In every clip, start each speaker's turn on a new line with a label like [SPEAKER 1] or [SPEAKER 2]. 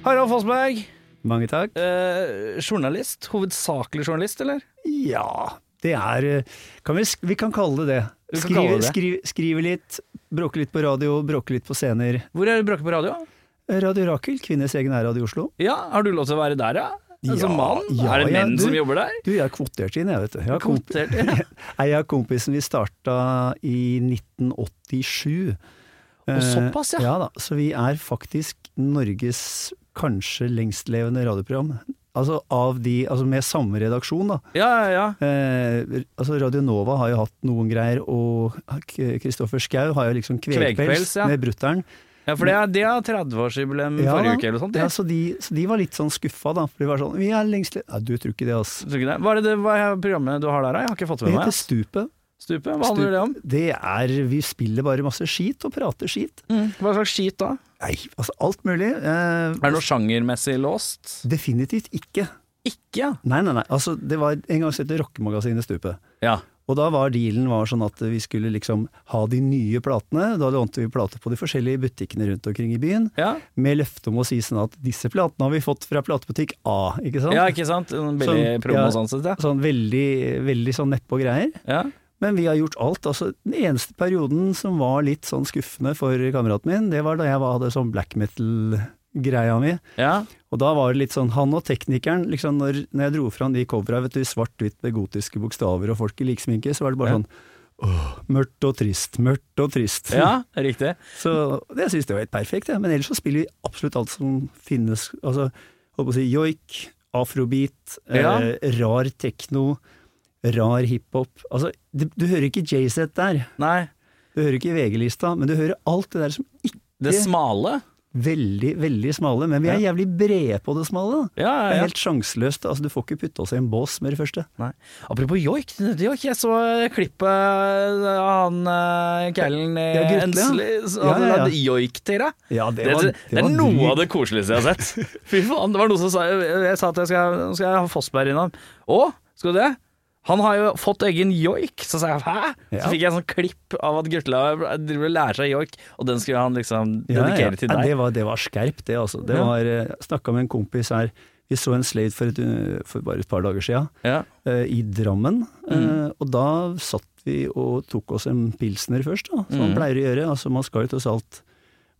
[SPEAKER 1] Harald Fossberg.
[SPEAKER 2] Mange takk.
[SPEAKER 1] Eh, journalist? Hovedsakelig journalist, eller?
[SPEAKER 2] Ja, det er eh, kan vi, sk- vi kan kalle det det.
[SPEAKER 1] Vi kan
[SPEAKER 2] Skrive,
[SPEAKER 1] kalle det det.
[SPEAKER 2] skrive, skrive litt, bråke litt på radio, bråke litt på scener.
[SPEAKER 1] Hvor er Brakke på radio?
[SPEAKER 2] Radio Rakel, kvinners egen æradio i Oslo.
[SPEAKER 1] Ja, Har du lov til å være der, ja? Som Altså, mann?
[SPEAKER 2] ja,
[SPEAKER 1] er det
[SPEAKER 2] ja,
[SPEAKER 1] menn
[SPEAKER 2] du-
[SPEAKER 1] som jobber der?
[SPEAKER 2] Du, jeg er kvotert inn, jeg, vet du. Jeg har komp-
[SPEAKER 1] Kvotert, ja.
[SPEAKER 2] Nei, jeg har kompisen vi starta i 1987.
[SPEAKER 1] Og såpass, ja.
[SPEAKER 2] ja da, Så vi er faktisk Norges kanskje lengstlevende radioprogram. Altså av de, altså med samme redaksjon, da.
[SPEAKER 1] Ja, ja, ja.
[SPEAKER 2] Eh, altså Radio Nova har jo hatt noen greier, og K- Kristoffer Schau har jo liksom kvegpels
[SPEAKER 1] Kvegpels, ja.
[SPEAKER 2] med brutter'n.
[SPEAKER 1] ja for det er, det er 30-årsjubileum
[SPEAKER 2] Ja, da.
[SPEAKER 1] forrige uke eller sånt.
[SPEAKER 2] Ja,
[SPEAKER 1] Ja.
[SPEAKER 2] så, de, så de var litt sånn skuffa, da. For de var sånn Vi er lengst le- Nei, du tror ikke det, altså.
[SPEAKER 1] Tror ikke det. Hva er det, det hva er programmet du har der, da? Jeg har ikke fått
[SPEAKER 2] Det
[SPEAKER 1] med
[SPEAKER 2] heter
[SPEAKER 1] meg.
[SPEAKER 2] Stupet.
[SPEAKER 1] Stupet? Hva handler det om?
[SPEAKER 2] Det er Vi spiller bare masse skit og prater skit.
[SPEAKER 1] Hva slags skit da?
[SPEAKER 2] Nei, altså alt mulig.
[SPEAKER 1] Er det
[SPEAKER 2] Eh,
[SPEAKER 1] noe sjangermessig låst?
[SPEAKER 2] definitivt ikke.
[SPEAKER 1] Ikke, ja.
[SPEAKER 2] Nei, nei, nei. Altså, det var en gang så het det rockemagasinet Stupet.
[SPEAKER 1] ja.
[SPEAKER 2] Og da var dealen var sånn at vi skulle liksom ha de nye platene. Da lånte vi plater på de forskjellige butikkene rundt omkring i byen.
[SPEAKER 1] Ja.
[SPEAKER 2] Med løfte om å si sånn at disse platene har vi fått fra platebutikk A, ikke sant?
[SPEAKER 1] ja, ikke sant? En billig
[SPEAKER 2] Sånn,
[SPEAKER 1] promo
[SPEAKER 2] ja.
[SPEAKER 1] sånn sett, ja.
[SPEAKER 2] Sånn veldig, veldig sånn nedpå greier.
[SPEAKER 1] ja.
[SPEAKER 2] Men vi har gjort alt. Altså, den eneste perioden som var litt sånn skuffende for kameraten min, det var da jeg var- hadde sånn black metal-greia mi.
[SPEAKER 1] Ja,
[SPEAKER 2] Og da var det litt sånn, han og teknikeren, liksom når, når jeg dro fram de covera, vet du, i svart-hvitt med gotiske bokstaver og folk i liksminke, så var det bare
[SPEAKER 1] Ja.
[SPEAKER 2] sånn åh, mørkt og trist, mørkt og trist.
[SPEAKER 1] ja riktig.
[SPEAKER 2] Så det syns jeg var helt perfekt, jeg. men ellers så spiller vi absolutt alt som finnes. Altså, holdt på å si joik, afrobeat,
[SPEAKER 1] Ja.
[SPEAKER 2] eh, rar tekno, rar hiphop. Altså, du, du hører ikke JZ der,
[SPEAKER 1] Nei,
[SPEAKER 2] du hører ikke VG-lista, men du hører alt det der som ikke
[SPEAKER 1] det smale.
[SPEAKER 2] Veldig, veldig smale, men vi er jævlig brede på det smale.
[SPEAKER 1] Ja,
[SPEAKER 2] Da. Det
[SPEAKER 1] ja,
[SPEAKER 2] er
[SPEAKER 1] ja.
[SPEAKER 2] helt sjanseløst. Altså, du får ikke putta oss i en bås med det første.
[SPEAKER 1] Nei. Apropos joik, joik, jeg så klippet av han eh, kælen
[SPEAKER 2] Ja,
[SPEAKER 1] eh,
[SPEAKER 2] Grutle, ja.
[SPEAKER 1] Ensli som
[SPEAKER 2] Ja,
[SPEAKER 1] hadde
[SPEAKER 2] ja, ja.
[SPEAKER 1] lagd joik til deg.
[SPEAKER 2] Ja,
[SPEAKER 1] Det, det, er noe av det koseligste jeg har sett. Fy faen, det var noen som sa Jeg, jeg sa at jeg skal, nå skal jeg ha Fossberg innom. Å, skal du det? Han har jo fått egen joik. Så sa jeg hæ?
[SPEAKER 2] Ja.
[SPEAKER 1] Så fikk jeg en sånn klipp av at Grutle driver og lærer seg joik, og den skulle han liksom dedikere til
[SPEAKER 2] Ja,
[SPEAKER 1] deg.
[SPEAKER 2] det, var, det var skerpt, det. Altså. det
[SPEAKER 1] Ja.
[SPEAKER 2] var, eh, jeg snakka med en kompis her. Vi så en Slade for, et, eh, for bare et par dager sia,
[SPEAKER 1] Ja.
[SPEAKER 2] eh, i Drammen.
[SPEAKER 1] Mm.
[SPEAKER 2] Eh, og da satt vi og tok oss en pilsner først, da,
[SPEAKER 1] Mm.
[SPEAKER 2] som man pleier å gjøre. Altså, man skal jo tross alt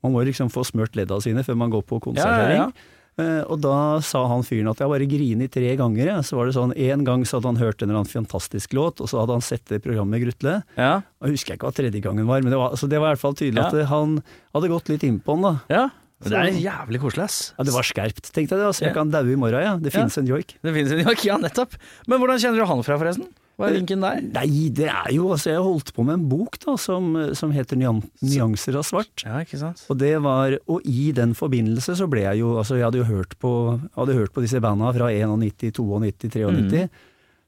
[SPEAKER 2] Man må liksom få smørt ledda sine før man går på konserthøring.
[SPEAKER 1] Ja, ja,
[SPEAKER 2] Eh, og da sa han fyren at jeg bare griner tre ganger. jeg. Så var det sånn, En gang så hadde han hørt en eller annen fantastisk låt, og så hadde han sett det programmet med Grutle.
[SPEAKER 1] Ja.
[SPEAKER 2] Jeg husker ikke hva tredje gangen var, men det var, altså det var i hvert fall tydelig
[SPEAKER 1] Ja.
[SPEAKER 2] at det, han hadde gått litt innpå den. da.
[SPEAKER 1] ja. Det er jævlig koselig, ass.
[SPEAKER 2] Ja, Det var skerpt, tenkte jeg. det, altså. Jeg
[SPEAKER 1] Ja.
[SPEAKER 2] kan daue i morgen, ja. Det
[SPEAKER 1] Ja.
[SPEAKER 2] finnes en joik.
[SPEAKER 1] Det finnes en joik, ja, nettopp. Men hvordan kjenner du han fra, forresten? Hva er linken der?
[SPEAKER 2] Nei, det er jo altså, Jeg holdt på med en bok da, som, som heter Nyan Nyanser av svart.
[SPEAKER 1] Ja, ikke sant?
[SPEAKER 2] Og, det var, og i den forbindelse så ble jeg jo altså Jeg hadde jo hørt på, jeg hadde hørt på disse banda fra 91, 92, 93.
[SPEAKER 1] Mm.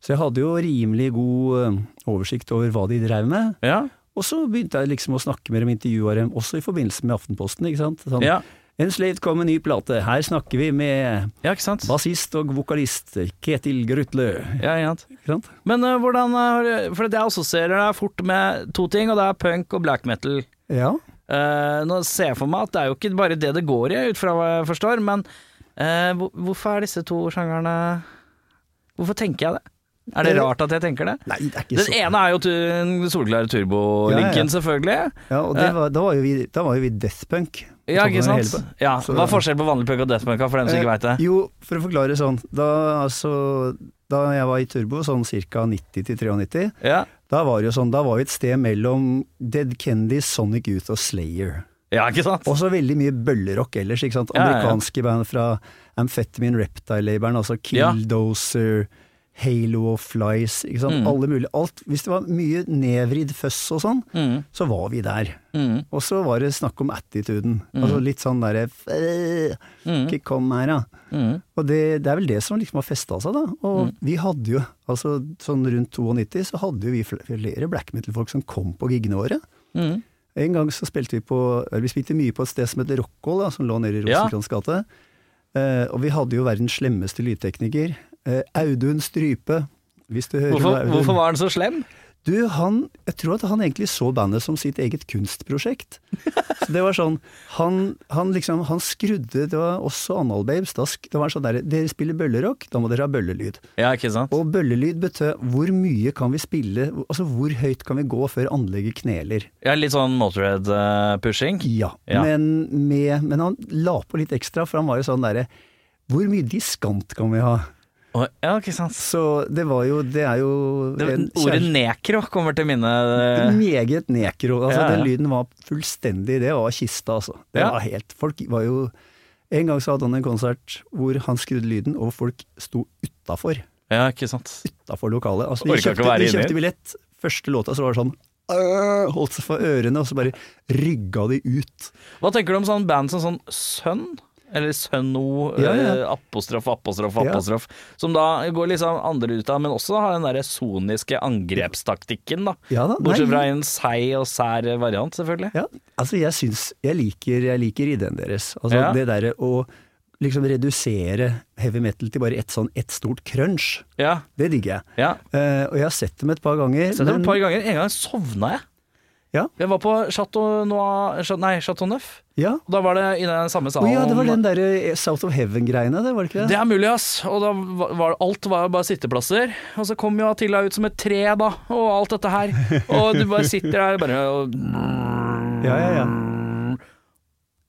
[SPEAKER 2] Så jeg hadde jo rimelig god eh, oversikt over hva de drev med.
[SPEAKER 1] Ja,
[SPEAKER 2] Og så begynte jeg liksom å snakke med dem, intervjue dem, også i forbindelse med Aftenposten. ikke sant? Sånn,
[SPEAKER 1] ja.
[SPEAKER 2] En slave kom med ny plate, her snakker vi med
[SPEAKER 1] ja ikke sant?
[SPEAKER 2] bassist og vokalist Ketil Grutle.
[SPEAKER 1] Ja, ikke sant?
[SPEAKER 2] Ikke sant?
[SPEAKER 1] Men øh, hvordan har du- For jeg assosierer deg fort med to ting, og det er punk og black metal.
[SPEAKER 2] Ja.
[SPEAKER 1] Eh, nå ser jeg for meg at det er jo ikke bare det det går i, ut fra hva jeg forstår, men eh, hvor- hvorfor er disse to sjangerne Hvorfor tenker jeg det? Er det
[SPEAKER 2] Det-
[SPEAKER 1] rart at jeg tenker det?
[SPEAKER 2] Nei, det er ikke
[SPEAKER 1] Den
[SPEAKER 2] så
[SPEAKER 1] ene er jo tu- den solklare turbolinken,
[SPEAKER 2] Ja, ja.
[SPEAKER 1] selvfølgelig.
[SPEAKER 2] Ja, og det var, da, var jo vi, da var jo vi deathpunk.
[SPEAKER 1] Ja, ikke
[SPEAKER 2] Sånn var det
[SPEAKER 1] sant?
[SPEAKER 2] hele på.
[SPEAKER 1] Ja.
[SPEAKER 2] Så-
[SPEAKER 1] Hva er forskjellen på vanlig punk og deathpunk for dem som ikke
[SPEAKER 2] Eh,
[SPEAKER 1] veit det?
[SPEAKER 2] Jo, for å forklare sånn, da, altså, da jeg var i Turbo, sånn ca. 90 til 93,
[SPEAKER 1] Ja,
[SPEAKER 2] da var det jo sånn, da var vi et sted mellom Dead Kennedy, Sonic Youth og Slayer.
[SPEAKER 1] ja ikke sant?
[SPEAKER 2] Også veldig mye bøllerock ellers, ikke sant.
[SPEAKER 1] Ja, ja, ja.
[SPEAKER 2] Amerikanske band fra Amphetamine Reptile-laboren, altså Killdozer, Halo of Flies, ikke sant.
[SPEAKER 1] Mm.
[SPEAKER 2] Alle mulige, alt, hvis det var mye nedvridd føss og sånn,
[SPEAKER 1] Mm.
[SPEAKER 2] så var vi der.
[SPEAKER 1] Mm.
[SPEAKER 2] Og så var det snakk om attituden. Altså litt sånn derre «Øh,
[SPEAKER 1] Mm.
[SPEAKER 2] Ikke kom her, da.
[SPEAKER 1] Mm.
[SPEAKER 2] Og det, det er vel det som liksom har festa seg, da. Og vi hadde jo, altså sånn rundt 92 så hadde jo vi fl- flere black metal-folk som kom på gigene våre.
[SPEAKER 1] Mm.
[SPEAKER 2] En gang så spilte vi på eller Vi spilte mye på et sted som heter Rockhold, da, som lå nede i
[SPEAKER 1] Ja.
[SPEAKER 2] Rosenkrantz gate. Eh, og vi hadde jo verdens slemmeste lydtekniker. Eh, Audun Strype. Hvis du hører om
[SPEAKER 1] Hvorfor,
[SPEAKER 2] Audun.
[SPEAKER 1] hvorfor var den så slem?
[SPEAKER 2] Du, han, jeg tror at han egentlig så bandet som sitt eget kunstprosjekt. Så det var sånn, Han, han liksom, han skrudde Det var også Anal Babes. Da, sk- det var sånn der, Dere spiller bøllerock, da må dere ha bøllelyd.
[SPEAKER 1] Ja, ikke sant?
[SPEAKER 2] Og bøllelyd betød hvor mye kan vi spille, altså hvor høyt kan vi gå før anlegget kneler.
[SPEAKER 1] Ja, litt sånn Motorhead-pushing.
[SPEAKER 2] Ja,
[SPEAKER 1] Ja.
[SPEAKER 2] Men, med, men han la på litt ekstra, for han var jo sånn derre Hvor mye diskant kan vi ha?
[SPEAKER 1] ja, ikke sant.
[SPEAKER 2] Så det var jo Det er jo
[SPEAKER 1] Det,
[SPEAKER 2] en
[SPEAKER 1] ordet
[SPEAKER 2] kjærlighet-
[SPEAKER 1] nekro kommer til eh, minne.
[SPEAKER 2] Meget nekro. Altså,
[SPEAKER 1] Ja, ja.
[SPEAKER 2] Den lyden var fullstendig Det var kista, altså. Det
[SPEAKER 1] Ja.
[SPEAKER 2] var helt, folk var jo En gang så hadde han en konsert hvor han skrudde lyden, og folk sto utafor.
[SPEAKER 1] Ja, ikke sant.
[SPEAKER 2] Utafor lokalet. Altså, de,
[SPEAKER 1] Orka ikke å
[SPEAKER 2] kjøpte,
[SPEAKER 1] være
[SPEAKER 2] de
[SPEAKER 1] inne.
[SPEAKER 2] kjøpte billett. Første låta så var det sånn øh, Holdt seg for ørene, og så bare rygga de ut.
[SPEAKER 1] Hva tenker du om sånn band som sånn Sønn? Eller Sønno,
[SPEAKER 2] Ja, ja.
[SPEAKER 1] eh, apostrof, apostrof,
[SPEAKER 2] Ja.
[SPEAKER 1] apostrof. Som da går liksom andre ruta, men også har den derre soniske angrepstaktikken, da.
[SPEAKER 2] Ja da,
[SPEAKER 1] Bortsett
[SPEAKER 2] nei.
[SPEAKER 1] fra en seig og sær variant, selvfølgelig.
[SPEAKER 2] Ja, altså jeg syns Jeg liker, jeg liker ideen deres. Altså
[SPEAKER 1] Ja.
[SPEAKER 2] det derre å liksom redusere heavy metal til bare ett sånn ett stort crunch.
[SPEAKER 1] Ja.
[SPEAKER 2] Det digger jeg.
[SPEAKER 1] ja.
[SPEAKER 2] Eh, og jeg har sett dem et par ganger.
[SPEAKER 1] Så det var
[SPEAKER 2] men-
[SPEAKER 1] et par ganger. En gang sovna jeg.
[SPEAKER 2] Ja.
[SPEAKER 1] Jeg var på Chateau Noir Cha- Nei, Chateau Neuf.
[SPEAKER 2] ja.
[SPEAKER 1] Og da var det i den samme
[SPEAKER 2] Å
[SPEAKER 1] salen.
[SPEAKER 2] ja, det var den derre South of Heaven-greiene, det var det ikke
[SPEAKER 1] Det
[SPEAKER 2] det?
[SPEAKER 1] er mulig, ass. Og da var- var, alt var jo bare sitteplasser. Og så kom jo Attila ut som et tre, da, og alt dette her. Og du bare sitter der bare og,
[SPEAKER 2] Ja, ja, ja.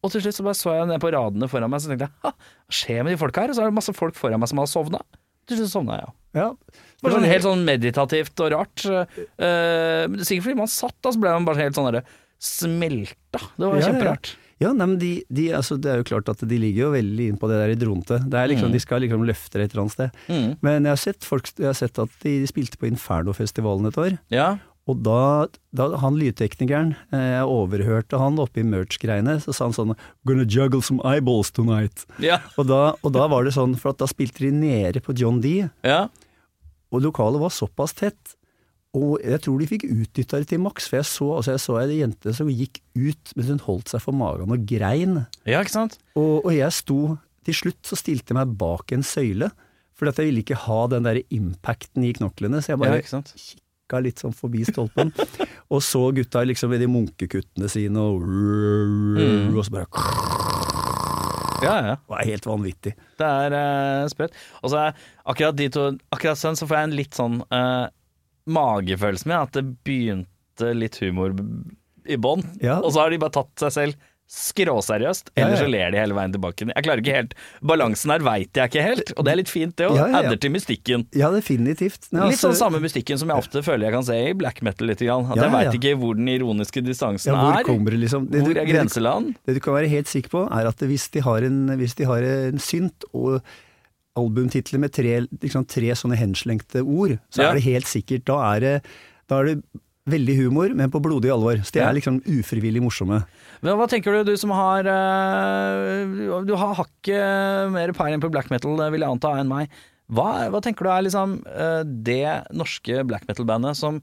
[SPEAKER 1] og til slutt så bare så jeg ned på radene foran meg, så tenkte jeg "Ha, hva skjer med de folka her? Og så er det masse folk foran meg som har sovna. Til slutt sovna jeg, ja.
[SPEAKER 2] ja.
[SPEAKER 1] Det var sånn helt sånn meditativt og rart. Eh, men det er sikkert fordi man satt, da, så ble man bare helt sånn derre smelta. Det var
[SPEAKER 2] Ja, ja, ja.
[SPEAKER 1] kjemperart.
[SPEAKER 2] Ja, nei, men de, de, altså, det er jo klart at de ligger jo veldig inn på det der i dronte. Det er liksom, De skal liksom løfte det et eller annet sted.
[SPEAKER 1] Mm.
[SPEAKER 2] Men jeg har sett, folk, jeg har sett at de spilte på Inferno-festivalen et år.
[SPEAKER 1] Ja.
[SPEAKER 2] Og da, da han lydteknikeren, eh, jeg overhørte han oppe i merch-greiene, så sa han sånn Gonna juggle some eyeballs tonight.
[SPEAKER 1] Ja.
[SPEAKER 2] Og da, og da var det sånn, for at da spilte de nede på John D,
[SPEAKER 1] ja.
[SPEAKER 2] og lokalet var såpass tett. Og jeg tror de fikk utnytta det til maks, for jeg så, altså jeg så ei jente som gikk ut mens hun holdt seg for magen og grein.
[SPEAKER 1] Ja, ikke sant?
[SPEAKER 2] Og, og jeg sto Til slutt så stilte jeg meg bak en søyle, fordi at jeg ville ikke ha den der impacten i knoklene, så jeg
[SPEAKER 1] Ja,
[SPEAKER 2] bare
[SPEAKER 1] ikke sant?
[SPEAKER 2] kikka litt sånn forbi stolpen, og så gutta liksom i de munkekuttene sine, og,
[SPEAKER 1] Mm.
[SPEAKER 2] og så bare Det
[SPEAKER 1] Ja, ja.
[SPEAKER 2] var helt vanvittig.
[SPEAKER 1] Det er uh, sprøtt. Og så er akkurat de to Akkurat sånn så får jeg en litt sånn eh, magefølelse med at det begynte litt humor b- i bånn,
[SPEAKER 2] Ja.
[SPEAKER 1] og så har de bare tatt seg selv skråseriøst,
[SPEAKER 2] Ja,
[SPEAKER 1] eller
[SPEAKER 2] ja.
[SPEAKER 1] så ler de hele veien tilbake. Jeg klarer ikke helt Balansen her veit jeg ikke helt, og det er litt fint, det òg.
[SPEAKER 2] Ja, ja, ja.
[SPEAKER 1] Adder til mystikken.
[SPEAKER 2] Ja, definitivt. Nei,
[SPEAKER 1] Litt sånn
[SPEAKER 2] altså,
[SPEAKER 1] samme mystikken som jeg ofte føler jeg kan se i black metal litt. Grann. At
[SPEAKER 2] Ja,
[SPEAKER 1] jeg
[SPEAKER 2] ja,
[SPEAKER 1] veit
[SPEAKER 2] ja.
[SPEAKER 1] ikke hvor den ironiske distansen
[SPEAKER 2] ja, hvor
[SPEAKER 1] er.
[SPEAKER 2] kommer det liksom det, du-
[SPEAKER 1] hvor er
[SPEAKER 2] det, du-
[SPEAKER 1] grenseland?
[SPEAKER 2] det du kan være helt sikker på, er at hvis de har en, hvis de har en synt og albumtitler med tre, liksom tre sånne henslengte ord, så
[SPEAKER 1] Ja.
[SPEAKER 2] er det helt sikkert Da er det, da er det veldig humor, men på blodig alvor. Så de
[SPEAKER 1] Ja.
[SPEAKER 2] er liksom ufrivillig morsomme.
[SPEAKER 1] Men hva tenker du, du som har eh, Du har hakket mer peiling på black metal, eh, vil jeg anta, enn meg. Hva, hva tenker du er liksom eh, det norske black metal-bandet som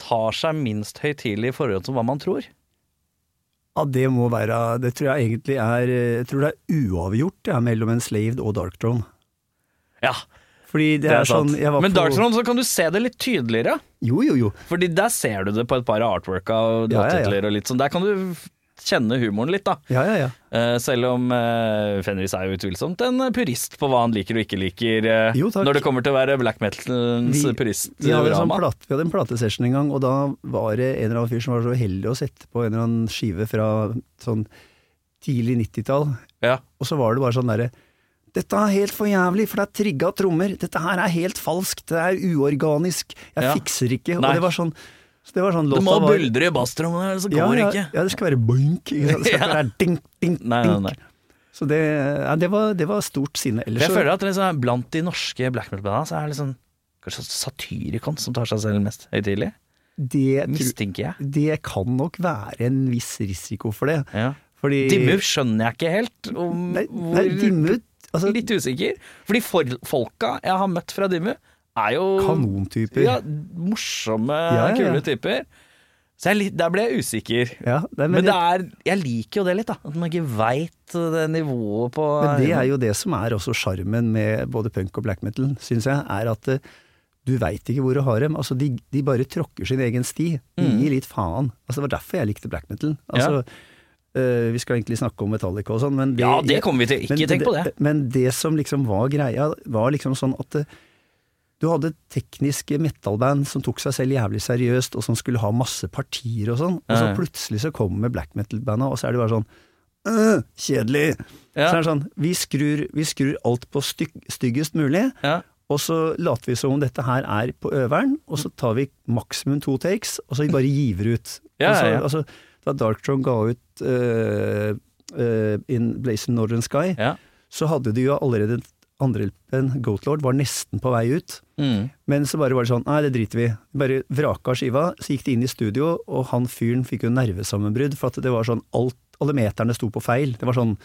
[SPEAKER 1] tar seg minst høytidelig i forhold til hva man tror?
[SPEAKER 2] Ja, det må være Det tror jeg egentlig er Jeg tror det er uavgjort ja, mellom Enslaved og Dark Throne.
[SPEAKER 1] Ja,
[SPEAKER 2] Fordi det,
[SPEAKER 1] det
[SPEAKER 2] er,
[SPEAKER 1] er sant.
[SPEAKER 2] sånn jeg var
[SPEAKER 1] Men
[SPEAKER 2] på-
[SPEAKER 1] Dark Throne så kan du se det litt tydeligere.
[SPEAKER 2] Jo, jo, jo.
[SPEAKER 1] Fordi der ser du det på et par av artworka og
[SPEAKER 2] Ja, ja, ja.
[SPEAKER 1] låttitler og litt sånn. Der kan du f- kjenne humoren litt, da.
[SPEAKER 2] Ja, ja, ja.
[SPEAKER 1] Eh, selv om eh, Fenris er jo utvilsomt en purist på hva han liker og ikke liker, eh,
[SPEAKER 2] Jo, takk.
[SPEAKER 1] når det kommer til å være black metalens
[SPEAKER 2] Vi- Vi hadde, en sånn
[SPEAKER 1] puristrama.
[SPEAKER 2] plat, vi hadde en platesession en gang, og da var det en eller annen fyr som var så heldig å sette på en eller annen skive fra sånn tidlig 90-tall,
[SPEAKER 1] ja.
[SPEAKER 2] og så var det bare sånn derre dette er helt for jævlig, for det er trigga trommer. Dette her er helt falskt, det er uorganisk. Jeg
[SPEAKER 1] Ja.
[SPEAKER 2] fikser ikke.
[SPEAKER 1] Nei.
[SPEAKER 2] Og det var sånn, så det var sånn
[SPEAKER 1] Det
[SPEAKER 2] låta
[SPEAKER 1] må
[SPEAKER 2] var-
[SPEAKER 1] buldre i basstrommene, ellers så går
[SPEAKER 2] ja,
[SPEAKER 1] det
[SPEAKER 2] ja,
[SPEAKER 1] ikke.
[SPEAKER 2] Ja, det skal være boink. Ikke sant? Det skal ikke være dink, dink,
[SPEAKER 1] Nei, nei, nei.
[SPEAKER 2] dink. Så det, ja, det, var, det var stort sinne.
[SPEAKER 1] For
[SPEAKER 2] Ellers
[SPEAKER 1] jeg
[SPEAKER 2] så
[SPEAKER 1] føler at liksom, blant de norske black metal-banda, så er det liksom Kanskje Satyricon som tar seg selv mest høytidelig?
[SPEAKER 2] Det, tru-
[SPEAKER 1] Mistenker jeg.
[SPEAKER 2] det kan nok være en viss risiko for det.
[SPEAKER 1] Ja.
[SPEAKER 2] Fordi
[SPEAKER 1] Dimmu skjønner jeg ikke helt. Om,
[SPEAKER 2] Nei, nei
[SPEAKER 1] hvor,
[SPEAKER 2] Dimmu altså,
[SPEAKER 1] Litt usikker. Fordi for, folka jeg har møtt fra Dimmu, er jo
[SPEAKER 2] Kanontyper.
[SPEAKER 1] Ja, morsomme,
[SPEAKER 2] ja, ja.
[SPEAKER 1] kule typer. Så jeg, er litt- der ble jeg usikker.
[SPEAKER 2] Ja, nei, men,
[SPEAKER 1] Men
[SPEAKER 2] det,
[SPEAKER 1] det er, jeg liker jo det litt, da. At man ikke veit det nivået på eh,
[SPEAKER 2] men det er jo det som er også sjarmen med både punk og black metal, syns jeg, er at eh, du veit ikke hvor du har dem. Altså, de, de bare tråkker sin egen sti. De
[SPEAKER 1] Mm.
[SPEAKER 2] gir litt faen. Altså, det var derfor jeg likte black metal. Altså, eh, vi skal egentlig snakke om Metallica og sånn, men det,
[SPEAKER 1] Ja, det kommer vi til. Ikke
[SPEAKER 2] men
[SPEAKER 1] tenk på det.
[SPEAKER 2] Men det som liksom var greia, var liksom sånn at eh, du hadde tekniske metal-band som tok seg selv jævlig seriøst, og som skulle ha masse partier og sånn, og så
[SPEAKER 1] Ja.
[SPEAKER 2] plutselig så kommer black metal-banda, og så er det bare sånn «Øh, Kjedelig!
[SPEAKER 1] Ja.
[SPEAKER 2] Så er det sånn, vi skrur, vi skrur alt på styg, styggest mulig,
[SPEAKER 1] Ja.
[SPEAKER 2] og så later vi som om dette her er på øveren, og så tar vi maksimum to takes, og så bare giver ut.
[SPEAKER 1] Ja,
[SPEAKER 2] Og så-
[SPEAKER 1] ja, ja.
[SPEAKER 2] Altså, da Dark Throne ga ut øh, øh, In Blazing Northern Sky,
[SPEAKER 1] Ja.
[SPEAKER 2] så hadde de jo allerede andrehjelpen, Goatlord, var nesten på vei ut.
[SPEAKER 1] Mm.
[SPEAKER 2] Men så bare var det sånn, nei det driter vi i. Bare vraka skiva, så gikk de inn i studio, og han fyren fikk jo nervesammenbrudd, for at det var sånn, alt, alle meterne sto på feil. Det var sånn,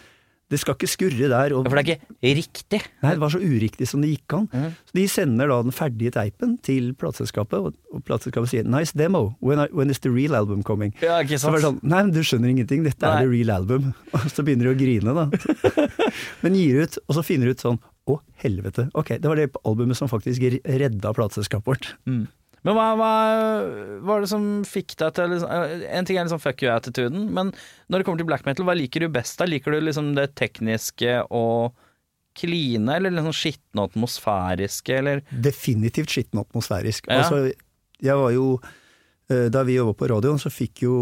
[SPEAKER 2] det skal ikke skurre der, og
[SPEAKER 1] For det er ikke riktig.
[SPEAKER 2] nei, det var så uriktig som det gikk an.
[SPEAKER 1] Mhm.
[SPEAKER 2] Så de sender da den ferdige teipen til plateselskapet, og, og plateselskapet sier, nice demo, when, I, when is the real album coming?
[SPEAKER 1] Ja, ikke
[SPEAKER 2] Så var det sånn, nei, men du skjønner ingenting, dette
[SPEAKER 1] Nei.
[SPEAKER 2] er the real album. Og så begynner de å grine, da. Men gir ut, og så finner de ut sånn, å helvete, ok, det var det albumet som faktisk redda plateselskapet vårt.
[SPEAKER 1] Mm. Men hva, hva var det som fikk deg til liksom, En ting er liksom fuck you-attituden, men når det kommer til black metal, hva liker du best da? Liker du liksom det tekniske og kline, eller liksom skitne atmosfæriske, eller
[SPEAKER 2] Definitivt skitten atmosfærisk.
[SPEAKER 1] Ja.
[SPEAKER 2] Altså, jeg var jo eh, da vi jobba på radioen, så fikk, jo,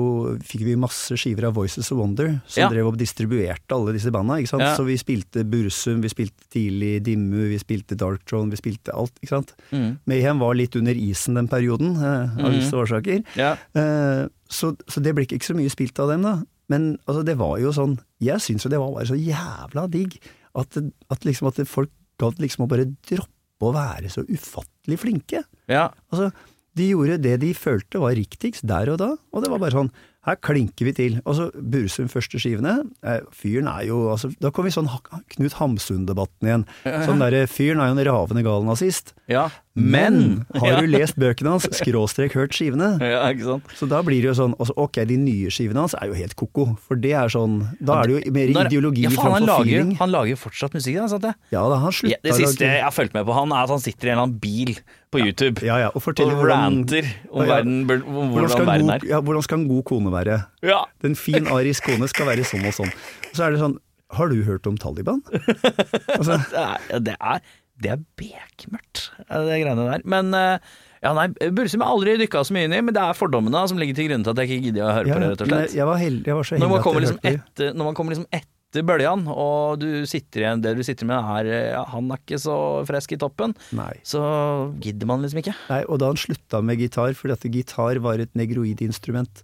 [SPEAKER 2] fikk vi masse skiver av Voices of Wonder, som
[SPEAKER 1] Ja.
[SPEAKER 2] drev og distribuerte alle disse banda. Ikke sant?
[SPEAKER 1] Ja.
[SPEAKER 2] Så vi spilte Bursum, vi spilte Tidlig Dimmu, vi spilte Dark Throne, vi spilte alt. Ikke sant?
[SPEAKER 1] Mm.
[SPEAKER 2] Mayhem var litt under isen den perioden, eh,
[SPEAKER 1] Mhm.
[SPEAKER 2] av visse årsaker.
[SPEAKER 1] Ja.
[SPEAKER 2] Eh, så, så det ble ikke så mye spilt av dem, da. Men altså, det var jo sånn Jeg syns jo det var bare så jævla digg at, det- at, liksom, at det- folk gadd liksom å bare droppe å være så ufattelig flinke.
[SPEAKER 1] ja.
[SPEAKER 2] Altså, de gjorde det de følte var riktigst der og da, og det var bare sånn her klinker vi til. Og så Bursum første skivene. eh, Fyren er jo altså, Da kom vi sånn Ha- Knut Hamsun-debatten igjen. Sånn derre Fyren er jo en ravende gal nazist.
[SPEAKER 1] ja.
[SPEAKER 2] Men
[SPEAKER 1] ja.
[SPEAKER 2] har du lest bøkene hans? Skråstrek hørt skivene?
[SPEAKER 1] ja, ikke sant?
[SPEAKER 2] Så da blir det jo sånn også, Ok, de nye skivene hans er jo helt ko-ko. For det er sånn Da er det jo mer
[SPEAKER 1] Når-
[SPEAKER 2] ideologi
[SPEAKER 1] ja, faen, han
[SPEAKER 2] framfor
[SPEAKER 1] lager, jo-
[SPEAKER 2] feeling.
[SPEAKER 1] Han lager jo fortsatt musikk, da, sant det?
[SPEAKER 2] Ja da, han slutta
[SPEAKER 1] Ja, det
[SPEAKER 2] å
[SPEAKER 1] siste
[SPEAKER 2] lage-
[SPEAKER 1] jeg har fulgt med på han, er at han sitter i en eller annen bil på YouTube
[SPEAKER 2] Ja ja, og forteller
[SPEAKER 1] og
[SPEAKER 2] hvordan,
[SPEAKER 1] ranter om
[SPEAKER 2] Ja, ja.
[SPEAKER 1] verden, bur- om
[SPEAKER 2] hvordan, skal
[SPEAKER 1] hvordan
[SPEAKER 2] en
[SPEAKER 1] verden
[SPEAKER 2] god,
[SPEAKER 1] er.
[SPEAKER 2] ja, hvordan skal en god kone være?
[SPEAKER 1] Ja.
[SPEAKER 2] Den fin arisk kone skal være sånn og sånn. Og så er det sånn Har du hørt om Taliban? Altså,
[SPEAKER 1] det er, det er, det er bekmørkt, det greiene der. Men eh, ja, nei, Bursum har aldri dykka så mye inn i, men det er fordommene da, som ligger til grunn til at jeg ikke gidder å høre
[SPEAKER 2] ja,
[SPEAKER 1] på det, rett og
[SPEAKER 2] men
[SPEAKER 1] slett.
[SPEAKER 2] jeg var, heldig, jeg var så
[SPEAKER 1] Når
[SPEAKER 2] heldig
[SPEAKER 1] man kommer
[SPEAKER 2] at jeg
[SPEAKER 1] liksom
[SPEAKER 2] hørte det.
[SPEAKER 1] etter, når man kommer liksom etter bølgen, og du sitter igjen, det du sitter med er eh, ja, Han er ikke så frisk i toppen,
[SPEAKER 2] Nei.
[SPEAKER 1] så gidder man liksom ikke.
[SPEAKER 2] Nei, og da han slutta med gitar, fordi at gitar var et negroidinstrument.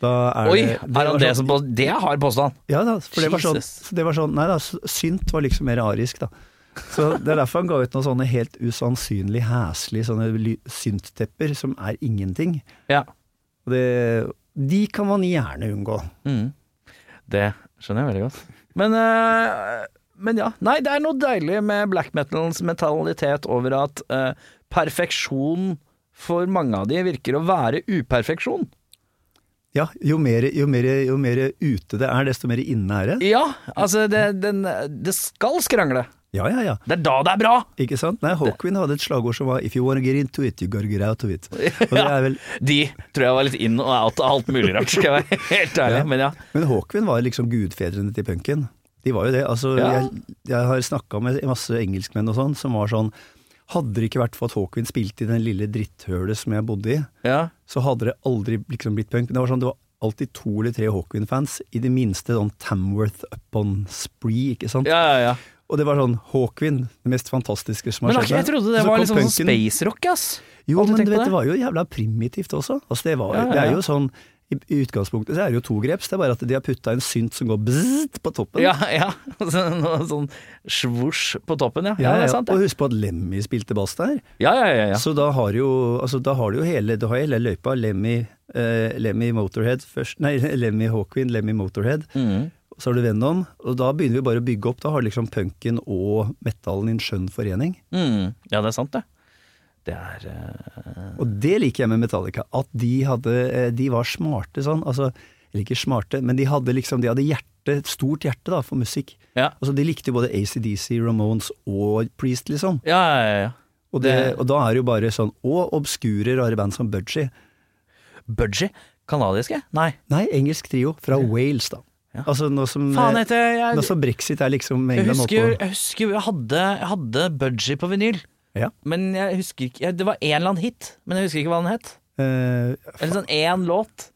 [SPEAKER 2] Da er
[SPEAKER 1] Oi,
[SPEAKER 2] det,
[SPEAKER 1] er han
[SPEAKER 2] var
[SPEAKER 1] det
[SPEAKER 2] sånn-
[SPEAKER 1] som på, Det er hard påstand!
[SPEAKER 2] Ja da, for det var, sånn,
[SPEAKER 1] Jesus.
[SPEAKER 2] så det var sånn Nei da, s- synt var liksom mer arisk, da. Så Det er derfor han ga ut noen sånne helt usannsynlig heslige sånne ly- synttepper som er ingenting.
[SPEAKER 1] Ja.
[SPEAKER 2] Og det, de kan man gjerne unngå.
[SPEAKER 1] Mm. Det skjønner jeg veldig godt. Men, eh, men ja. Nei, det er noe deilig med black metalens mentalitet over at eh, perfeksjon for mange av de virker å være uperfeksjon.
[SPEAKER 2] Ja, jo mer, jo mer, jo mer ute det er, desto mer inne er det.
[SPEAKER 1] Ja, altså det, den, det skal skrangle.
[SPEAKER 2] Ja, ja, ja.
[SPEAKER 1] Det er da det er bra!
[SPEAKER 2] Ikke sant? Nei, Hawkwind hadde et slagord som var 'If you wanna get into it, you gotta get out of it'. Og det er vel
[SPEAKER 1] De tror jeg var litt in og out av alt mulig rart, skal jeg være helt ærlig.
[SPEAKER 2] Ja.
[SPEAKER 1] Men ja.
[SPEAKER 2] Men Hawkwind var liksom gudfedrene til punken. De var jo det. Altså,
[SPEAKER 1] Ja.
[SPEAKER 2] jeg, jeg har snakka med masse engelskmenn og sånn, som var sånn Hadde det ikke vært for at Hawkwind spilte i den lille dritthølet som jeg bodde i,
[SPEAKER 1] ja.
[SPEAKER 2] så hadde det aldri liksom blitt punk. Men det var sånn, det var alltid to eller tre Hawkwind-fans, i det minste sånn Tamworth upon spree, ikke sant.
[SPEAKER 1] Ja, ja, ja.
[SPEAKER 2] Og det var sånn Hawkwind, det mest fantastiske som
[SPEAKER 1] Men
[SPEAKER 2] har
[SPEAKER 1] har ikke-
[SPEAKER 2] skjedd.
[SPEAKER 1] jeg trodde det
[SPEAKER 2] Og så
[SPEAKER 1] var
[SPEAKER 2] kom
[SPEAKER 1] liksom sånn
[SPEAKER 2] punken.
[SPEAKER 1] spacerock, ass.
[SPEAKER 2] Jo,
[SPEAKER 1] Aldri
[SPEAKER 2] men
[SPEAKER 1] tenkt på
[SPEAKER 2] du vet,
[SPEAKER 1] det.
[SPEAKER 2] det var jo jævla primitivt også. Altså, det, var,
[SPEAKER 1] Ja, ja,
[SPEAKER 2] det er
[SPEAKER 1] ja.
[SPEAKER 2] jo sånn I i utgangspunktet så er det jo togreps, det er bare at de har putta en synt som går bzzzt på toppen.
[SPEAKER 1] Ja, ja. Sånn, sånn svosj på toppen, ja.
[SPEAKER 2] Ja,
[SPEAKER 1] det
[SPEAKER 2] ja,
[SPEAKER 1] er sant,
[SPEAKER 2] Og
[SPEAKER 1] det.
[SPEAKER 2] husk på at Lemmy spilte bass der,
[SPEAKER 1] Ja, ja, ja. ja.
[SPEAKER 2] så da har du jo, altså, da har du jo hele, du har hele løypa. Lemmy, eh, Lemmy Motorhead først, nei, Lemmy Hawkwind, Lemmy Motorhead.
[SPEAKER 1] Mhm.
[SPEAKER 2] Så har du Venom, og da begynner vi bare å bygge opp. Da har liksom punken og metallen i en skjønn forening.
[SPEAKER 1] Mhm. ja, det er sant, det. Det er eh,
[SPEAKER 2] Og det liker jeg med Metallica. At de, hadde, eh, de var smarte sånn. Altså, eller ikke smarte, men de hadde liksom De hadde hjerte, et stort hjerte da, for musikk.
[SPEAKER 1] Ja,
[SPEAKER 2] Altså, de likte jo både ACDC, Ramones og Priest, liksom.
[SPEAKER 1] ja, ja. ja, ja.
[SPEAKER 2] Og, det,
[SPEAKER 1] Det-
[SPEAKER 2] og da er det jo bare sånn Og obskure, rare band som Budgie.
[SPEAKER 1] Budgie? Kanadiske? Nei.
[SPEAKER 2] Nei, engelsk trio fra Wales, da.
[SPEAKER 1] Ja.
[SPEAKER 2] Altså nå som,
[SPEAKER 1] Faen
[SPEAKER 2] eh,
[SPEAKER 1] heter jeg,
[SPEAKER 2] nå som brexit er liksom
[SPEAKER 1] jeg
[SPEAKER 2] England
[SPEAKER 1] husker, jo-
[SPEAKER 2] oppå
[SPEAKER 1] jeg husker jo jeg hadde, jeg hadde Budgie på vinyl.
[SPEAKER 2] Ja.
[SPEAKER 1] Men jeg husker ikke jeg, Det var en eller annen hit, men jeg husker ikke hva den het.
[SPEAKER 2] eh,
[SPEAKER 1] Eller sånn én låt.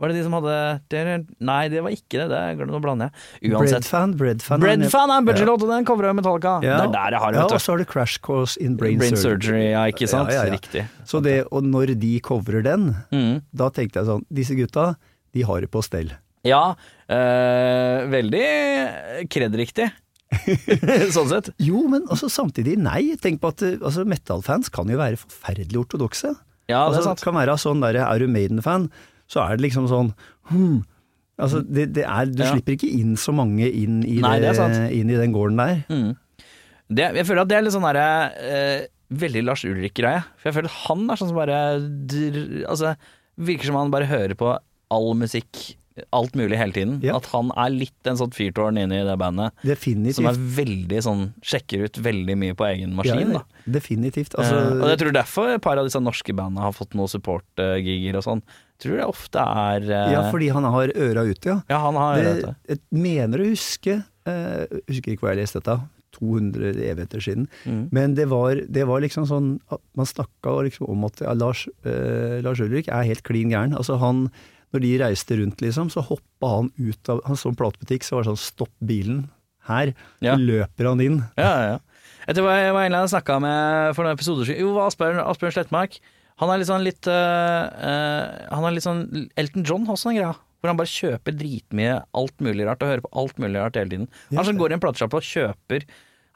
[SPEAKER 1] Var det de som hadde Nei, det var ikke det. det glem- Nå blander jeg. Uansett.
[SPEAKER 2] Breadfan, Breadfan.
[SPEAKER 1] Breadfan er en budgie-låt, og den covrer Metallica. Det er der jeg har det.
[SPEAKER 2] Ja,
[SPEAKER 1] vet du.
[SPEAKER 2] og så har du Crash Course in Brain,
[SPEAKER 1] Brain
[SPEAKER 2] Surgery.
[SPEAKER 1] surgery, ja, ikke sant?
[SPEAKER 2] Ja, ja, ja.
[SPEAKER 1] Riktig.
[SPEAKER 2] Så det, og når de coverer den,
[SPEAKER 1] Mhm.
[SPEAKER 2] da tenkte jeg sånn Disse gutta, de har det på stell.
[SPEAKER 1] Ja, eh, veldig kredriktig. sånn sett.
[SPEAKER 2] Jo, men altså samtidig nei. Tenk på at eh, altså, metal-fans kan jo være forferdelig ortodokse.
[SPEAKER 1] Ja, det
[SPEAKER 2] altså,
[SPEAKER 1] er sant.
[SPEAKER 2] kan være sånn der, Er du Maiden-fan, så er det liksom sånn hmm. Altså, det, det er, du
[SPEAKER 1] Ja.
[SPEAKER 2] slipper ikke inn så mange inn i,
[SPEAKER 1] Nei, det er sant.
[SPEAKER 2] inn i den gården der.
[SPEAKER 1] Det, jeg føler at det er litt sånn derre eh, Veldig Lars Ulrik-greie. For jeg føler at han er sånn som bare dr- Altså, virker som han bare hører på all musikk, alt mulig hele tiden.
[SPEAKER 2] Ja.
[SPEAKER 1] At han er litt en sånn fyrtårn inne i det bandet. Som er
[SPEAKER 2] Definitivt.
[SPEAKER 1] veldig sånn Sjekker ut veldig mye på egen maskin, da.
[SPEAKER 2] Definitivt. Altså,
[SPEAKER 1] Eh, og jeg tror derfor et par av disse norske bandene har fått noen supportgigger og sånn. Tror det ofte er eh,
[SPEAKER 2] ja, fordi han har øra ute, ja.
[SPEAKER 1] ja, han har det,
[SPEAKER 2] det, jeg mener å huske eh, jeg Husker ikke hvor jeg leste dette, 200 evigheter siden.
[SPEAKER 1] Mm.
[SPEAKER 2] Men det var, det var liksom sånn at Man snakka liksom om at ja, Lars, eh, Lars Ulrik er helt klin gæren. Altså han, når de reiste rundt, liksom, så hoppa han ut av Han så en platebutikk, så var det sånn Stopp bilen her.
[SPEAKER 1] Ja.
[SPEAKER 2] Så løper han inn.
[SPEAKER 1] Ja, ja, ja. Jeg tror jeg var en jeg snakka med for noen episoder siden. Jo, Asbjørn, Asbjørn Slettmark. Han er litt sånn litt eh, eh, Han er litt sånn Elton John også, den greia. Hvor han bare kjøper dritmye alt mulig rart, og hører på alt mulig rart hele tiden. Han som går i en platesjappe og kjøper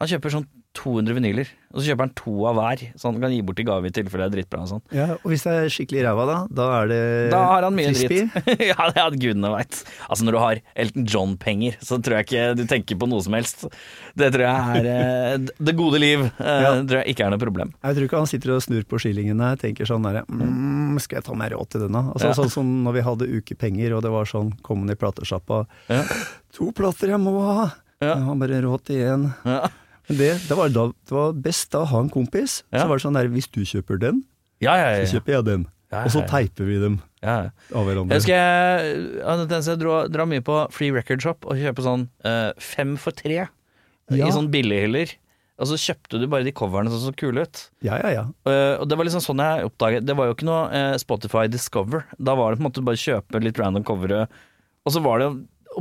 [SPEAKER 1] Han kjøper sånn 200 vinyler, og så kjøper han to av hver, så han kan gi bort i gave i tilfelle det er drittbra og sånn.
[SPEAKER 2] Ja, og hvis det er skikkelig ræva, da? Da er det
[SPEAKER 1] Da har han mye
[SPEAKER 2] Eh, frisbee.
[SPEAKER 1] dritt. ja, det er gudene veit. Altså, når du har Elton John-penger, så tror jeg ikke du tenker på noe som helst. Det tror jeg er eh, Det gode liv eh,
[SPEAKER 2] Ja.
[SPEAKER 1] tror jeg ikke er noe problem.
[SPEAKER 2] Jeg tror ikke han sitter og snur på skillingene og tenker sånn der, mm, skal jeg ta meg råd til denne? Altså,
[SPEAKER 1] Ja.
[SPEAKER 2] Sånn som når vi hadde ukepenger og det var sånn, kom han i platesjappa,
[SPEAKER 1] Ja.
[SPEAKER 2] to plater jeg må ha,
[SPEAKER 1] Ja.
[SPEAKER 2] jeg har bare råd til én.
[SPEAKER 1] Ja,
[SPEAKER 2] Men Det, det, var da, det var best da å ha en kompis,
[SPEAKER 1] Ja.
[SPEAKER 2] så var det sånn der, hvis du kjøper den,
[SPEAKER 1] ja, ja.
[SPEAKER 2] så
[SPEAKER 1] ja,
[SPEAKER 2] kjøper jeg den.
[SPEAKER 1] Ja,
[SPEAKER 2] Og så
[SPEAKER 1] ja, ja.
[SPEAKER 2] teiper vi dem
[SPEAKER 1] ja. ja.
[SPEAKER 2] av hverandre.
[SPEAKER 1] Jeg husker jeg hadde en tendens til å dra, dra mye på Free Record Shop og kjøpe sånn eh, fem for tre
[SPEAKER 2] Ja.
[SPEAKER 1] i sånn billighyller. Og så kjøpte du bare de coverne som så kule ut.
[SPEAKER 2] Ja, ja, ja.
[SPEAKER 1] Eh, og det var liksom sånn jeg oppdaget Det var jo ikke noe eh, Spotify Discover. Da var det på en måte bare kjøpe litt random covere, og så var det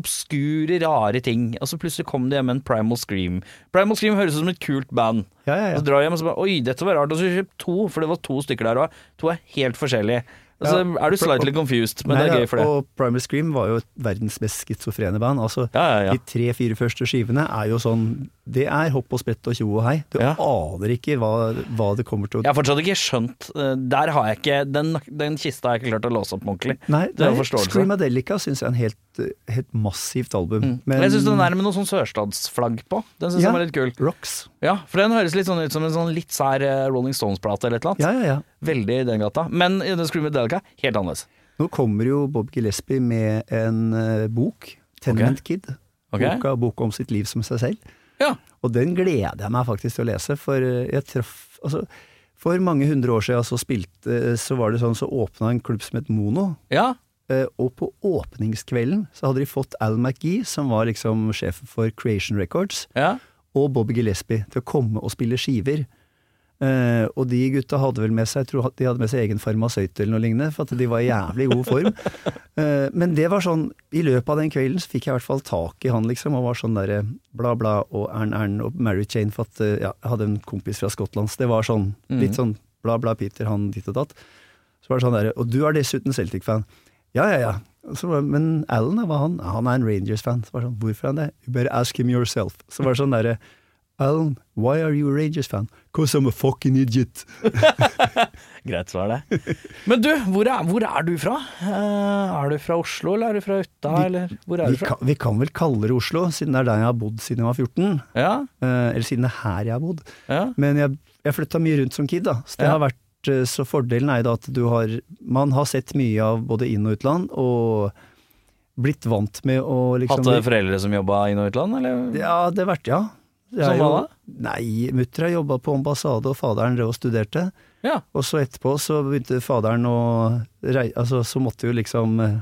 [SPEAKER 1] obskure, rare ting. Og så plutselig kom det hjem en Primal Scream. Primal Scream høres ut som et kult band.
[SPEAKER 2] Ja, ja, ja.
[SPEAKER 1] Så drar jeg hjem og så bare Oi, dette var rart. Og så kjøp to, for det var to stykker der òg. To er helt forskjellige. Og så
[SPEAKER 2] Ja.
[SPEAKER 1] er du slightly confused, men
[SPEAKER 2] Nei,
[SPEAKER 1] det
[SPEAKER 2] ja,
[SPEAKER 1] er gøy for det.
[SPEAKER 2] Og Primal Scream var jo et verdens mest skizofrene band. Altså,
[SPEAKER 1] Ja, ja, ja.
[SPEAKER 2] De tre-fire første skivene er jo sånn Det er hopp og sprett og tjo og hei. Du
[SPEAKER 1] Ja.
[SPEAKER 2] aner ikke hva, hva det kommer til å
[SPEAKER 1] Jeg har fortsatt ikke skjønt eh, Der har jeg ikke Den, den kista har jeg ikke klart å låse opp med ordentlig.
[SPEAKER 2] Nei,
[SPEAKER 1] det er
[SPEAKER 2] nei,
[SPEAKER 1] forståelse.
[SPEAKER 2] Screamadelica syns jeg er en helt, helt massivt album.
[SPEAKER 1] Men Mm. jeg syns den der med noe sånn sørstatsflagg på, den syns jeg
[SPEAKER 2] Ja.
[SPEAKER 1] var litt kul.
[SPEAKER 2] Rocks.
[SPEAKER 1] Ja, for den høres litt sånn ut som en sånn litt sær eh, Rolling Stones-plate eller et eller annet.
[SPEAKER 2] Ja, ja, ja.
[SPEAKER 1] Veldig i den gata. Men i den Scream Delica, helt annerledes.
[SPEAKER 2] Nå kommer jo Bob Gillespie med en eh, bok, 'Tenement Kid'.
[SPEAKER 1] Ok.
[SPEAKER 2] Boka, boka om sitt liv som seg selv.
[SPEAKER 1] Ja.
[SPEAKER 2] Og den gleder jeg meg faktisk til å lese, for eh, jeg traff altså, For mange hundre år siden så spilte Så var det sånn, så åpna en klubb som het Mono.
[SPEAKER 1] Ja.
[SPEAKER 2] Eh, Og på åpningskvelden så hadde de fått Al McGee, som var liksom sjefen for Creation Records,
[SPEAKER 1] Ja.
[SPEAKER 2] og Bobby Gillespie til å komme og spille skiver. Eh, og de gutta hadde vel med seg jeg tror de hadde med seg egen farmasøyt eller noe lignende, for at de var i jævlig god form. Eh, men det var sånn, i løpet av den kvelden så fikk jeg i hvert fall tak i han, liksom, og var sånn derre bla, bla, og Ern, Ern og Mary Jane, for at eh, ja, jeg hadde en kompis fra Skottland, så det var sånn, litt sånn bla, bla, Peter, han ditt og datt. Så var det sånn derre Og du er dessuten Celtic-fan. Ja, ja, ja. Og Så, var- men Alan, da, var han, han er en Rangers-fan. Så var det sånn, Hvorfor er han det? You better ask him yourself. Så var det sånn derre Alan, why are you a Rangers-fan? Cause I'm a fucking idiot.
[SPEAKER 1] Greit svar, det. Men du, hvor er, hvor er du fra? Eh, er du fra Oslo, eller er du fra Uta, eller hvor er
[SPEAKER 2] Vi
[SPEAKER 1] du fra?
[SPEAKER 2] kan, vi kan vel kalle det Oslo, siden det er der jeg har bodd siden jeg var 14.
[SPEAKER 1] Ja,
[SPEAKER 2] Eh, eller siden det er her jeg har bodd.
[SPEAKER 1] ja.
[SPEAKER 2] Men jeg, jeg flytta mye rundt som kid, da. Så, det
[SPEAKER 1] Ja.
[SPEAKER 2] har vært, eh, så fordelen er jo da at du har Man har sett mye av både inn- og utland, og blitt vant med å liksom
[SPEAKER 1] Hatt eh, foreldre som jobba inn- og utland, eller?
[SPEAKER 2] Ja, det har vært, ja. Det er
[SPEAKER 1] Som hva
[SPEAKER 2] jo- Nei, mutter'n jobba på ambassade, og faderen drev og studerte.
[SPEAKER 1] Ja.
[SPEAKER 2] Og så etterpå så begynte faderen å rei... Altså, så måtte jo liksom eh,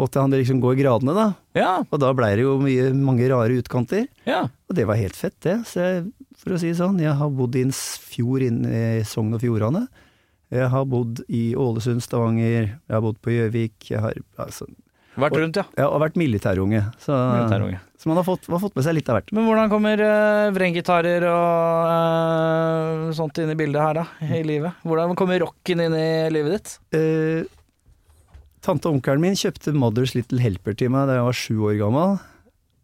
[SPEAKER 2] Måtte han liksom gå i gradene, da.
[SPEAKER 1] Ja,
[SPEAKER 2] Og da blei det jo mye, mange rare utkanter.
[SPEAKER 1] ja.
[SPEAKER 2] Og det var helt fett, det. Så jeg, for å si det sånn, jeg har bodd i en s- fjord inne i Sogn og Fjordane. Jeg har bodd i Ålesund, Stavanger, jeg har bodd på Gjøvik. Jeg har, altså,
[SPEAKER 1] Vært rundt, ja.
[SPEAKER 2] jeg har vært militærunge, så,
[SPEAKER 1] Militærunge.
[SPEAKER 2] så man har fått, man har fått med seg litt av hvert.
[SPEAKER 1] Men hvordan kommer uh, vrenggitarer og eh, sånt inn i bildet her, da? I livet? Hvordan kommer rocken inn i livet ditt?
[SPEAKER 2] Eh, tante og onkelen min kjøpte Mother's Little Helper til meg da jeg var sju år gammel.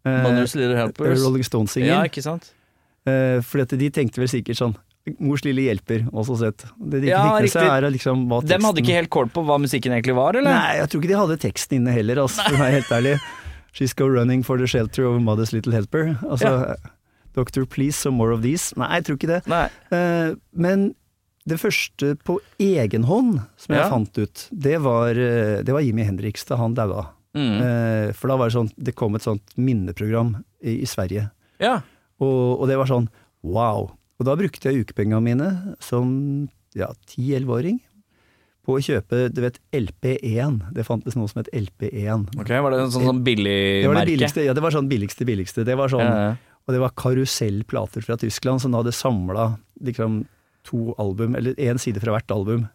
[SPEAKER 2] Eh,
[SPEAKER 1] Manners Little Helpers.
[SPEAKER 2] Rolling Stones-singel.
[SPEAKER 1] Ja, ikke sant?
[SPEAKER 2] Eh, for dette, de tenkte vel sikkert sånn Mors lille hjelper, også sett. Det de ikke
[SPEAKER 1] Ja,
[SPEAKER 2] fikk med seg,
[SPEAKER 1] riktig.
[SPEAKER 2] er liksom hva
[SPEAKER 1] Dem hadde
[SPEAKER 2] teksten-
[SPEAKER 1] ikke helt kål på hva musikken egentlig var, eller?
[SPEAKER 2] Nei, jeg tror ikke de hadde teksten inne heller, altså, for å være helt ærlig. She's go running for the shelter of mother's little helper. Altså, Doctor, please, some more of these. Nei, jeg tror ikke det.
[SPEAKER 1] Nei.
[SPEAKER 2] Eh, men det første på egen hånd som jeg
[SPEAKER 1] Ja.
[SPEAKER 2] fant ut, det var, eh, det var Jimmy Henriks da han daua.
[SPEAKER 1] Mm.
[SPEAKER 2] Eh, for da var det sånn, det kom et sånt minneprogram i, i Sverige.
[SPEAKER 1] Ja.
[SPEAKER 2] Og, og det var sånn wow. Og da brukte jeg ukepengene mine som ja, 10-11-åring på å kjøpe du vet, LP1. Det fantes noe som het LP1.
[SPEAKER 1] Ok, Var det en sånn, sånn billig
[SPEAKER 2] Det var det
[SPEAKER 1] merke?
[SPEAKER 2] billigste, ja, det var sånn billigste, billigste. Det var sånn,
[SPEAKER 1] Ja, ja.
[SPEAKER 2] Og det var karusellplater fra Tyskland som da hadde samla liksom, to album, eller én side fra hvert album,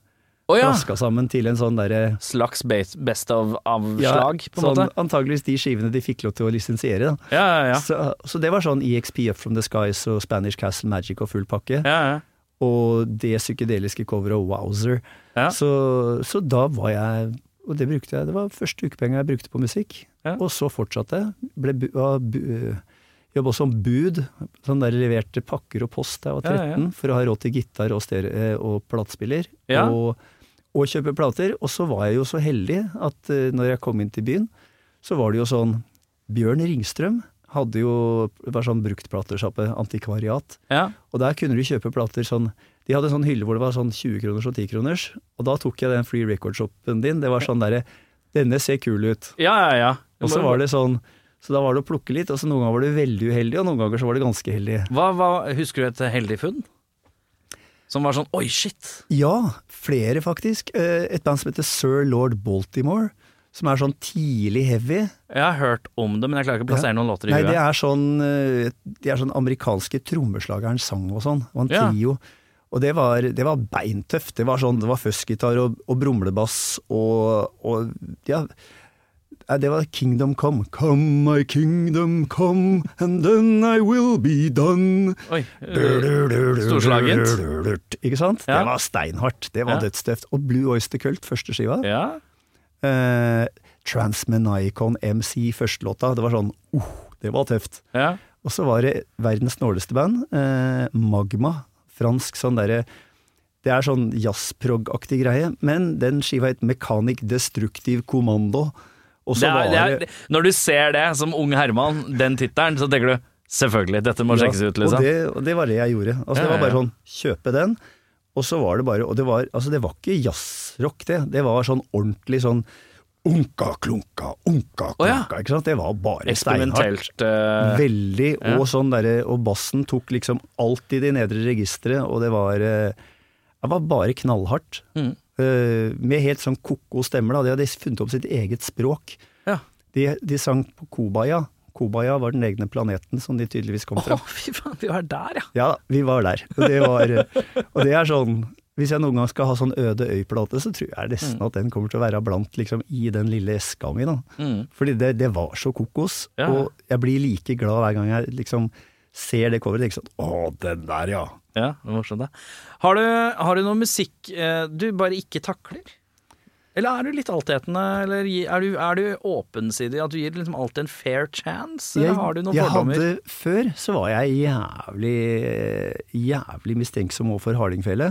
[SPEAKER 1] Å ja!
[SPEAKER 2] raska sammen til en sånn derre
[SPEAKER 1] Slags base- best of
[SPEAKER 2] ja,
[SPEAKER 1] avslag, på en
[SPEAKER 2] sånn,
[SPEAKER 1] måte?
[SPEAKER 2] Antageligvis de skivene de fikk lov til å lisensiere. Da.
[SPEAKER 1] Ja, ja, ja.
[SPEAKER 2] Så, så det var sånn EXP Up From The Skies og Spanish Castle Magic og full
[SPEAKER 1] ja,
[SPEAKER 2] pakke.
[SPEAKER 1] ja.
[SPEAKER 2] og det psykedeliske coveret og Wowzer.
[SPEAKER 1] Ja.
[SPEAKER 2] Så, så da var jeg Og det brukte jeg. Det var første ukepenga jeg brukte på musikk.
[SPEAKER 1] Ja.
[SPEAKER 2] Og så fortsatte jeg. Ble bu, var bu, Jobba som bud. Sånn der leverte pakker og post da jeg var 13,
[SPEAKER 1] Ja, ja.
[SPEAKER 2] for å ha råd til gitar og, stere- eh, og platespiller.
[SPEAKER 1] Ja.
[SPEAKER 2] Og, og kjøpe plater. Og så var jeg jo så heldig at eh, når jeg kom inn til byen, så var det jo sånn Bjørn Ringstrøm hadde jo var sånn bruktplatesjappe, antikvariat.
[SPEAKER 1] ja.
[SPEAKER 2] Og der kunne du kjøpe plater sånn De hadde en sånn hylle hvor det var sånn 20 kroners og 10 kroners, og da tok jeg den free record-shoppen din. Det var sånn derre Denne ser kul ut.
[SPEAKER 1] Ja, ja, ja.
[SPEAKER 2] Og så var det sånn Så da var det å plukke litt, og så noen ganger var du veldig uheldig, og noen ganger så var det ganske heldig.
[SPEAKER 1] hva, hva, Husker du et heldig funn? Som var sånn oi, shit!
[SPEAKER 2] Ja, flere faktisk. Eh, Et band som heter Sir Lord Baltimore, som er sånn tidlig heavy.
[SPEAKER 1] Jeg har hørt om det, men jeg klarer ikke å plassere noen låter i
[SPEAKER 2] Nei, det
[SPEAKER 1] huet.
[SPEAKER 2] er sånn eh, De er sånn amerikanske trommeslageren sang og sånn, og en
[SPEAKER 1] Ja.
[SPEAKER 2] trio. Og det var, det var beintøft. Det var sånn, det var fuzzgitar og, og brumlebass og, og Ja. Nei, Det var Kingdom Come. Come my kingdom come, and then I will be done.
[SPEAKER 1] Oi. øh, Storslagent.
[SPEAKER 2] Ikke sant?
[SPEAKER 1] Ja.
[SPEAKER 2] Det var steinhardt. Det var
[SPEAKER 1] Ja.
[SPEAKER 2] dødstøft. Og Blue Oyster Cult, første skiva.
[SPEAKER 1] Ja.
[SPEAKER 2] Eh, Transmenicon MC, førstelåta. Det var sånn uh, Det var tøft.
[SPEAKER 1] ja.
[SPEAKER 2] Og så var det verdens snåleste band, eh, Magma. Fransk sånn derre Det er sånn jazzprog-aktig greie, men den skiva het Mechanic Destructive Commando. Og så
[SPEAKER 1] Det er, det
[SPEAKER 2] var
[SPEAKER 1] er, når du ser det som ung Herman, den tittelen, så tenker du selvfølgelig, dette må
[SPEAKER 2] Ja,
[SPEAKER 1] sjekkes ut, liksom.
[SPEAKER 2] Og det, og det var det jeg gjorde. Altså,
[SPEAKER 1] Ja,
[SPEAKER 2] det var
[SPEAKER 1] ja,
[SPEAKER 2] bare
[SPEAKER 1] ja.
[SPEAKER 2] sånn, kjøpe den. Og så var det bare Og det var, altså, det var ikke jazzrock, det. Det var sånn ordentlig sånn unka klunka, unka klunka.
[SPEAKER 1] Å, ja.
[SPEAKER 2] Ikke sant? Det var bare steinhardt.
[SPEAKER 1] Eksperimentelt. øh,
[SPEAKER 2] Veldig,
[SPEAKER 1] ja.
[SPEAKER 2] og sånn derre Og bassen tok liksom alt i de nedre registre, og det var eh, Det var bare knallhardt.
[SPEAKER 1] Mm.
[SPEAKER 2] Eh, Med helt sånn ko-ko stemmer, da. De hadde funnet opp sitt eget språk.
[SPEAKER 1] Ja.
[SPEAKER 2] De, de sang på Kobaya. Kobaya var den egne planeten som de tydeligvis kom fra.
[SPEAKER 1] Å, fy faen, vi var der, ja.
[SPEAKER 2] Ja, vi var der. Og det, var, og det er sånn Hvis jeg noen gang skal ha sånn øde øyplate, så tror jeg nesten at den kommer til å være blant liksom, i den lille eska mi. da.
[SPEAKER 1] Mm.
[SPEAKER 2] Fordi det, det var så kokos,
[SPEAKER 1] Ja.
[SPEAKER 2] og jeg blir like glad hver gang jeg liksom ser det coveret. Ikke sant? Å, den der, ja.
[SPEAKER 1] Ja, det var morsomt, det. Har du, har du noe musikk eh, du bare ikke takler? Eller er du litt altetende, eller gi- er du, er du åpensidig? At du gir liksom alltid en fair chance? Eller har du noen
[SPEAKER 2] jeg
[SPEAKER 1] fordommer?
[SPEAKER 2] Hadde, før så var jeg jævlig, jævlig mistenksom overfor hardingfele.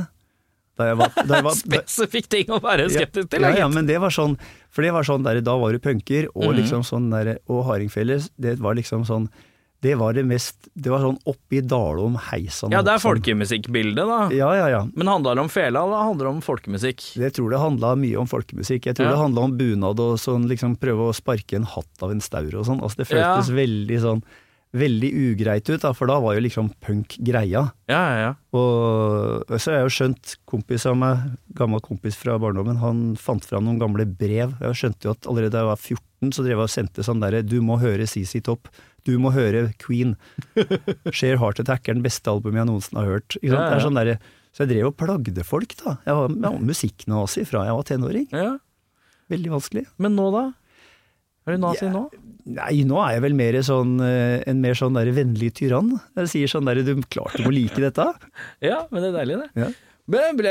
[SPEAKER 2] Da jeg var, da jeg var
[SPEAKER 1] Spesifikk ting å være skeptisk til!
[SPEAKER 2] ja,
[SPEAKER 1] egentlig.
[SPEAKER 2] ja, men det var sånn, for det var sånn der, da var du punker, og
[SPEAKER 1] Mhm.
[SPEAKER 2] liksom sånn der, og hardingfele, det var liksom sånn, det var det mest, det var sånn oppi Dalom heisan.
[SPEAKER 1] ja, det er
[SPEAKER 2] opp sånn.
[SPEAKER 1] folkemusikkbildet, da.
[SPEAKER 2] Ja, ja, ja.
[SPEAKER 1] Men handler det om fela, eller handler det om folkemusikk?
[SPEAKER 2] Jeg tror det handla mye om folkemusikk. Jeg tror
[SPEAKER 1] Ja.
[SPEAKER 2] det handla om bunad og sånn, liksom prøve å sparke en hatt av en staur og sånn. Altså det
[SPEAKER 1] Ja.
[SPEAKER 2] føltes veldig sånn Veldig ugreit ut, da, for da var jo liksom punk greia.
[SPEAKER 1] Ja, ja, ja.
[SPEAKER 2] Og så har jeg jo skjønt, kompis av meg, gammel kompis fra barndommen, han fant fram noen gamle brev. Jeg skjønte jo at allerede da jeg var 14, så drev jeg og sendte sånn derre Du må høre CC Topp. Du må høre Queen. Share Heart Attack er den beste albumet jeg noensinne har hørt. Ikke sant?
[SPEAKER 1] Ja, ja.
[SPEAKER 2] Det er sånn derre- så jeg drev og plagde folk, da. Jeg var, jeg var musikknazi fra jeg var tenåring.
[SPEAKER 1] ja.
[SPEAKER 2] Veldig vanskelig.
[SPEAKER 1] Men nå, da? Er du nazi
[SPEAKER 2] Ja.
[SPEAKER 1] nå?
[SPEAKER 2] Nei, nå er jeg vel mer sånn, eh, en mer sånn derre vennlig tyrann. Jeg sier sånn derre Du klart du må like dette.
[SPEAKER 1] Ja, men det er deilig, det.
[SPEAKER 2] Ja.
[SPEAKER 1] Men ble,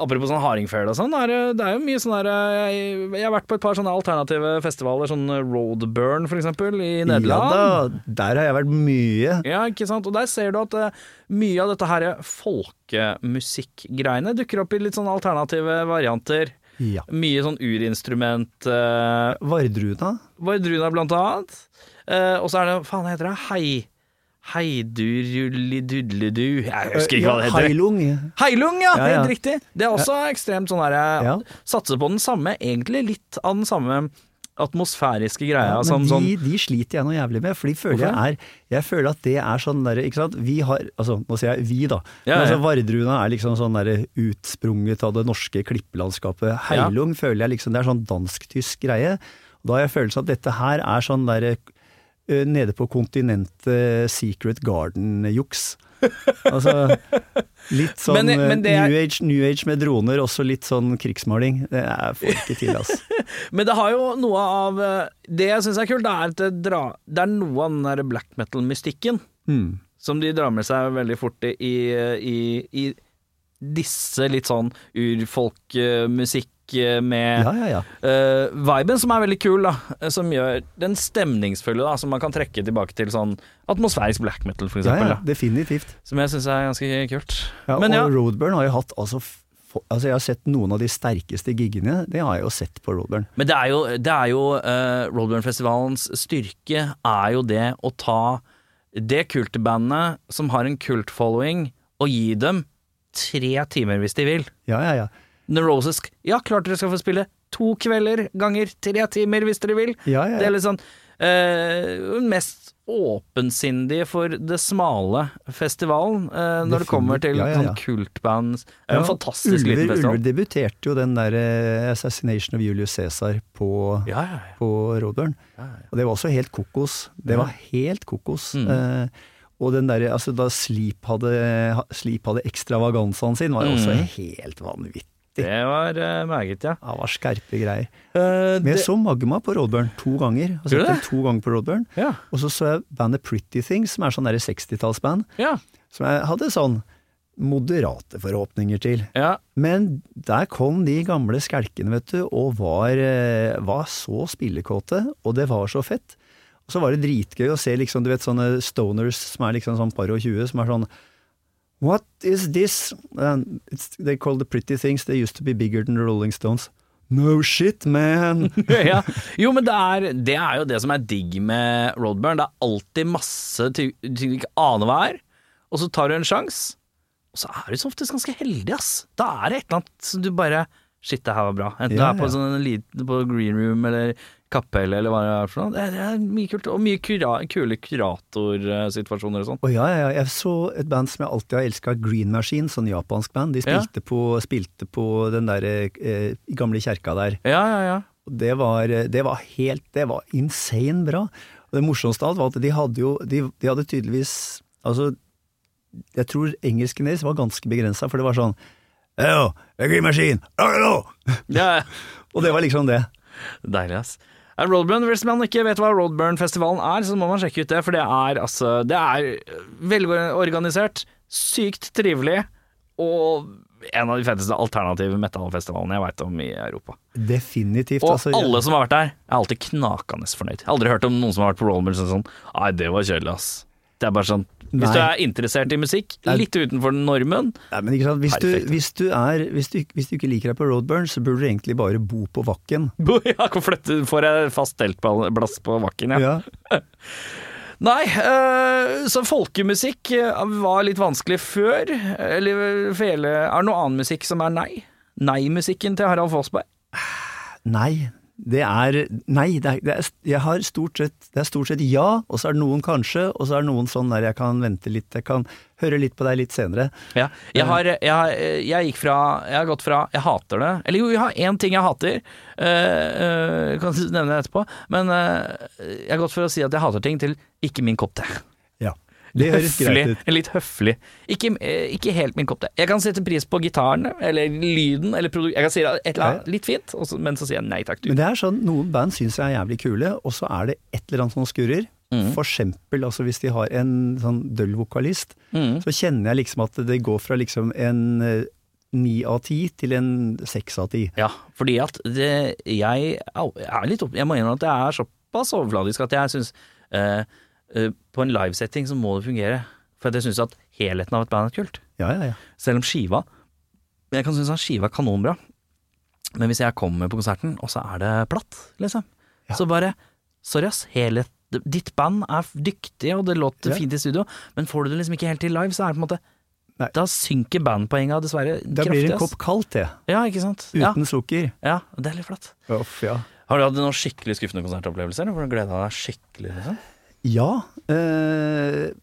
[SPEAKER 1] apropos sånn hardingfele og sånn, er det, det er jo mye sånn der jeg, jeg har vært på et par sånne alternative festivaler, sånn Roadburn for eksempel, i Nederland.
[SPEAKER 2] Ja da, der har jeg vært mye.
[SPEAKER 1] Ja, ikke sant? Og der ser du at eh, mye av dette her folkemusikkgreiene dukker opp i litt sånn alternative varianter.
[SPEAKER 2] Ja.
[SPEAKER 1] Mye sånn urinstrument, eh,
[SPEAKER 2] Vardruna.
[SPEAKER 1] Vardruna blant annet. Eh, og så er det, faen hva heter det, hei, heidurulidudledu, jeg husker ikke hva det heter.
[SPEAKER 2] Eh, Heilung.
[SPEAKER 1] Heilung, ja,
[SPEAKER 2] Ja, ja.
[SPEAKER 1] helt riktig. Det er også ekstremt sånn her
[SPEAKER 2] Ja.
[SPEAKER 1] eh, Satser på den samme, egentlig litt av den samme atmosfæriske greia
[SPEAKER 2] Ja,
[SPEAKER 1] som
[SPEAKER 2] men
[SPEAKER 1] sånn
[SPEAKER 2] de, de sliter jeg noe jævlig med, for de føler jeg er Jeg føler at det er sånn derre Ikke sant. Vi har Altså, nå sier jeg vi, da.
[SPEAKER 1] Ja,
[SPEAKER 2] Men
[SPEAKER 1] ja.
[SPEAKER 2] altså, Vardruna er liksom sånn derre utsprunget av det norske klippelandskapet. Heilung føler jeg liksom Det er sånn dansk-tysk greie. Da har jeg følelsen at dette her er sånn derre ø, Nede på kontinentet Secret Garden-juks. Altså litt sånn
[SPEAKER 1] Men- men det er-
[SPEAKER 2] new, age, new Age med droner, også litt sånn krigsmaling. Det er får ikke til, altså.
[SPEAKER 1] Men det har jo noe av eh, Det jeg syns er kult, det er at det, dra, det er noe av den der black metal-mystikken
[SPEAKER 2] Mm.
[SPEAKER 1] som de drar med seg veldig fort i, i, i disse litt sånn urfolkmusikk med
[SPEAKER 2] Ja, ja, ja.
[SPEAKER 1] Eh, viben som er veldig kul, da, eh, som gjør den stemningsfulle, da, som man kan trekke tilbake til sånn atmosfærisk black metal, for
[SPEAKER 2] ja,
[SPEAKER 1] eksempel.
[SPEAKER 2] ja definitivt.
[SPEAKER 1] Da, som jeg syns er ganske kult.
[SPEAKER 2] Ja,
[SPEAKER 1] Men ja.
[SPEAKER 2] Og Roadburn har jo hatt altså, f- f- altså Jeg har sett noen av de sterkeste giggene. Det har jeg jo sett på Roadburn.
[SPEAKER 1] Men det er jo, det er jo eh, Roadburn-festivalens styrke er jo det å ta det kultbandet som har en kultfollowing, og gi dem tre timer hvis de vil.
[SPEAKER 2] Ja, ja, ja.
[SPEAKER 1] Neurosis, ja, klart dere skal få spille to kvelder ganger tre timer hvis dere vil.
[SPEAKER 2] ja, ja,
[SPEAKER 1] Det er
[SPEAKER 2] ja.
[SPEAKER 1] litt sånn eh, mest åpensindige for det smale festivalen, eh, når det
[SPEAKER 2] Definitivt.
[SPEAKER 1] kommer til
[SPEAKER 2] Ja, ja, ja.
[SPEAKER 1] sånn kultband. Det er jo
[SPEAKER 2] Ja,
[SPEAKER 1] en fantastisk liten
[SPEAKER 2] Ulver-
[SPEAKER 1] festival.
[SPEAKER 2] Ulver debuterte jo den der eh, Assassination of Julius Cæsar på,
[SPEAKER 1] Ja, ja, ja.
[SPEAKER 2] på Roadburn.
[SPEAKER 1] Ja, ja.
[SPEAKER 2] Og det var også helt kokos. Det var helt kokos.
[SPEAKER 1] Mm.
[SPEAKER 2] Eh, og den der, altså da Sleep hadde, ha- Sleep hadde ekstravaganzaen sin, var jo også helt vanvittig.
[SPEAKER 1] Det var eh, meget, ja.
[SPEAKER 2] Det var skerpe greier.
[SPEAKER 1] Eh,
[SPEAKER 2] Men jeg
[SPEAKER 1] det-
[SPEAKER 2] så Magma på Roadburn to ganger. Jeg har
[SPEAKER 1] Gjorde
[SPEAKER 2] sett
[SPEAKER 1] du
[SPEAKER 2] dem to ganger på Roadburn.
[SPEAKER 1] ja,
[SPEAKER 2] Og så så jeg bandet Pretty Things, som er sånn der 60-tallsband,
[SPEAKER 1] ja,
[SPEAKER 2] som jeg hadde sånn moderate forhåpninger til.
[SPEAKER 1] ja.
[SPEAKER 2] Men der kom de gamle skelkene, vet du, og var, eh, var så spillekåte, og det var så fett. Og så var det dritgøy å se liksom, du vet, sånne stoners som er liksom sånn par og tjue, som er sånn What is this? And it's, they call the pretty things, they used to be bigger than the Rolling Stones. No shit, man!
[SPEAKER 1] ja. Jo, men det er, det er jo det som er digg med Roadburn. Det er alltid masse ting ting du ikke aner hva er, og så tar du en sjanse. Og så er du som oftest ganske heldig, ass. Da er det et eller annet som du bare Shit, det her var bra. Enten
[SPEAKER 2] Ja,
[SPEAKER 1] du er på,
[SPEAKER 2] ja.
[SPEAKER 1] sånn, en liten- på green room eller kapellet eller hva det er for noe. Det er, det er mye kult. Og mye kura, kule kuratorsituasjoner og sånn.
[SPEAKER 2] Og ja, ja, ja, jeg så et band som jeg alltid har elska, Green Machine, sånn japansk band. De
[SPEAKER 1] Ja.
[SPEAKER 2] spilte, på, spilte på den der eh, gamle kjerka der.
[SPEAKER 1] Ja, ja, ja.
[SPEAKER 2] Og Det var, eh, det var helt Det var insane bra. Og det morsomste av alt var at de hadde jo De, de hadde tydeligvis Altså, jeg tror engelsken deres var ganske begrensa, for det var sånn Hello, the Green Machine, rock and roll!»
[SPEAKER 1] Det er
[SPEAKER 2] Og det var liksom det.
[SPEAKER 1] Deilig, ass. Er Roadburn, Hvis man ikke vet hva Roadburn-festivalen er, så må man sjekke ut det, for det er øh, altså Det er velorganisert, sykt trivelig og en av de feteste alternative metal-festivalene jeg veit om i Europa.
[SPEAKER 2] Definitivt.
[SPEAKER 1] Og
[SPEAKER 2] altså,
[SPEAKER 1] alle som har vært der, er alltid knakende fornøyd. Jeg har aldri hørt om noen som har vært på Rollmore som sånn Nei, det var kjedelig, ass. Det er bare sånn Hvis
[SPEAKER 2] Nei.
[SPEAKER 1] du er interessert i musikk, litt utenfor den normen
[SPEAKER 2] Nei, men ikke sant? Hvis,
[SPEAKER 1] Perfekt.
[SPEAKER 2] du, hvis, du er, hvis, du, hvis du ikke liker deg på Roadburn, så burde du egentlig bare bo på Vakken.
[SPEAKER 1] ja, hvor flytter- Får jeg fast teltplass på Vakken, ja. Nei, eh, så folkemusikk eh, var litt vanskelig før. Eller fele Er det noe annen musikk som er nei? Nei-musikken til Harald Fossberg?
[SPEAKER 2] Nei. Det er Nei, det er, det er, jeg har stort sett, det er stort sett ja, og så er det noen kanskje, og så er det noen sånn der jeg kan vente litt, jeg kan høre litt på deg litt senere.
[SPEAKER 1] Ja. Jeg har, jeg, har- jeg gikk fra Jeg har gått fra Jeg hater det Eller jo, jeg har én ting jeg hater. eh, eh, kan jeg nevne det etterpå. Men eh, jeg har gått fra å si at jeg hater ting, til ikke min kopp te.
[SPEAKER 2] Ja. Det høres greit
[SPEAKER 1] Høflig.
[SPEAKER 2] ut.
[SPEAKER 1] Litt høflig. Ikke, eh, ikke helt min kopp te. Jeg kan sette pris på gitaren eller lyden eller produ Jeg kan si det et eller annet litt fint, og så- men så sier jeg nei takk, du.
[SPEAKER 2] Men det er sånn, noen band syns jeg er jævlig kule, og så er det et eller annet som skurrer.
[SPEAKER 1] Mm.
[SPEAKER 2] For eksempel altså hvis de har en sånn døll vokalist,
[SPEAKER 1] Mm.
[SPEAKER 2] så kjenner jeg liksom at det går fra liksom en eh, ni av ti til en seks av ti.
[SPEAKER 1] Ja, fordi at det, jeg, au, jeg er litt opp, Jeg må innrømme at jeg er såpass overfladisk at jeg syns På en livesetting så må det fungere. For at jeg syns at helheten av et band er kult.
[SPEAKER 2] Ja, ja, ja.
[SPEAKER 1] Selv om skiva Jeg kan synes at skiva er kanonbra, men hvis jeg kommer på konserten, og så er det platt, liksom, så bare Sorry, ass. Helhet Ditt band er dyktig, og det låter
[SPEAKER 2] Ja.
[SPEAKER 1] fint i studio, men får du det liksom ikke helt til live, så er det på en måte
[SPEAKER 2] Nei.
[SPEAKER 1] Da synker bandpoenga dessverre
[SPEAKER 2] Da blir
[SPEAKER 1] kraftig.
[SPEAKER 2] det en
[SPEAKER 1] ass.
[SPEAKER 2] kopp kaldt te,
[SPEAKER 1] Ja, ikke sant? Ja,
[SPEAKER 2] uten sukker.
[SPEAKER 1] ja, det er litt flatt.
[SPEAKER 2] Uff, ja.
[SPEAKER 1] Har du hatt noen skikkelig skuffende konsertopplevelser? eller Hvor du gleda deg skikkelig? Liksom?
[SPEAKER 2] Ja. Eh,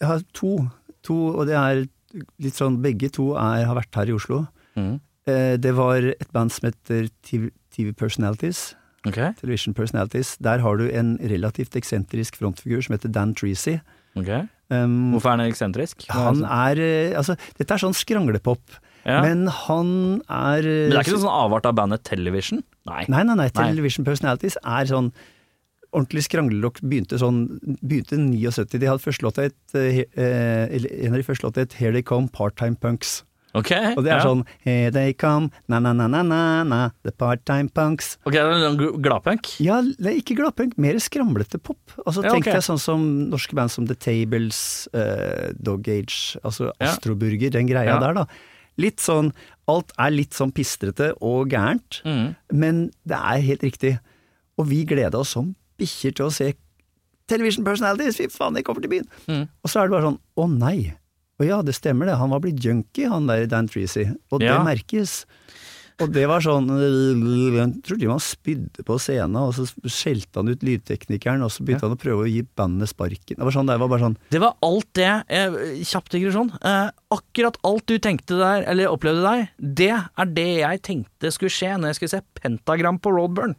[SPEAKER 2] jeg har to. to. Og det er litt sånn Begge to er, har vært her i Oslo.
[SPEAKER 1] Mhm.
[SPEAKER 2] Eh, det var et band som heter TV, TV Personalities.
[SPEAKER 1] Ok,
[SPEAKER 2] Television Personalities. Der har du en relativt eksentrisk frontfigur som heter Dan Treasy.
[SPEAKER 1] ok.
[SPEAKER 2] Um,
[SPEAKER 1] Hvorfor er han eksentrisk?
[SPEAKER 2] han er eh, Altså, dette er sånn skranglepop,
[SPEAKER 1] ja. men,
[SPEAKER 2] men han er eh,
[SPEAKER 1] men det er ikke noen sånn avart av bandet Television? Nei.
[SPEAKER 2] Nei, nei, nei.
[SPEAKER 1] Nei.
[SPEAKER 2] Television Personalities er sånn Ordentlig skranglelokk begynte sånn Begynte 79. De hadde første låta et, eh, eh, eller en av de første låta het Here They Come Part-Time Punks.
[SPEAKER 1] Ok,
[SPEAKER 2] Og det er
[SPEAKER 1] ja.
[SPEAKER 2] sånn Here They Come, na-na-na-na-na, The Part-Time Punks.
[SPEAKER 1] Ok, det er en sånn gl- gladpunk?
[SPEAKER 2] Ja, det er ikke gladpunk, mer skramlete pop. Altså
[SPEAKER 1] Ja,
[SPEAKER 2] tenkte
[SPEAKER 1] ok.
[SPEAKER 2] jeg sånn som norske band som The Tables, eh, Dog Age, altså
[SPEAKER 1] Ja.
[SPEAKER 2] Astroburger, den greia
[SPEAKER 1] Ja.
[SPEAKER 2] der, da. Litt sånn Alt er litt sånn pistrete og gærent.
[SPEAKER 1] Mm.
[SPEAKER 2] Men det er helt riktig. Og vi gleda oss som bikkjer til å se Television Personalities, fy faen, de kommer til byen!
[SPEAKER 1] Mm.
[SPEAKER 2] Og så er det bare sånn, å nei. Og ja, det stemmer det, han var blitt junkie, han der Dan Treasy, og det
[SPEAKER 1] Ja.
[SPEAKER 2] merkes. Og det var sånn Jeg tror de man spydde på scenen, og så skjelte han ut lydteknikeren, og så begynte han å prøve å gi bandet sparken. Det var sånn, det var bare sånn
[SPEAKER 1] Det var alt det eh, Kjapp digresjon. Eh, akkurat alt du tenkte der, eller opplevde der, det er det jeg tenkte skulle skje når jeg skulle se Pentagram på Roadburn.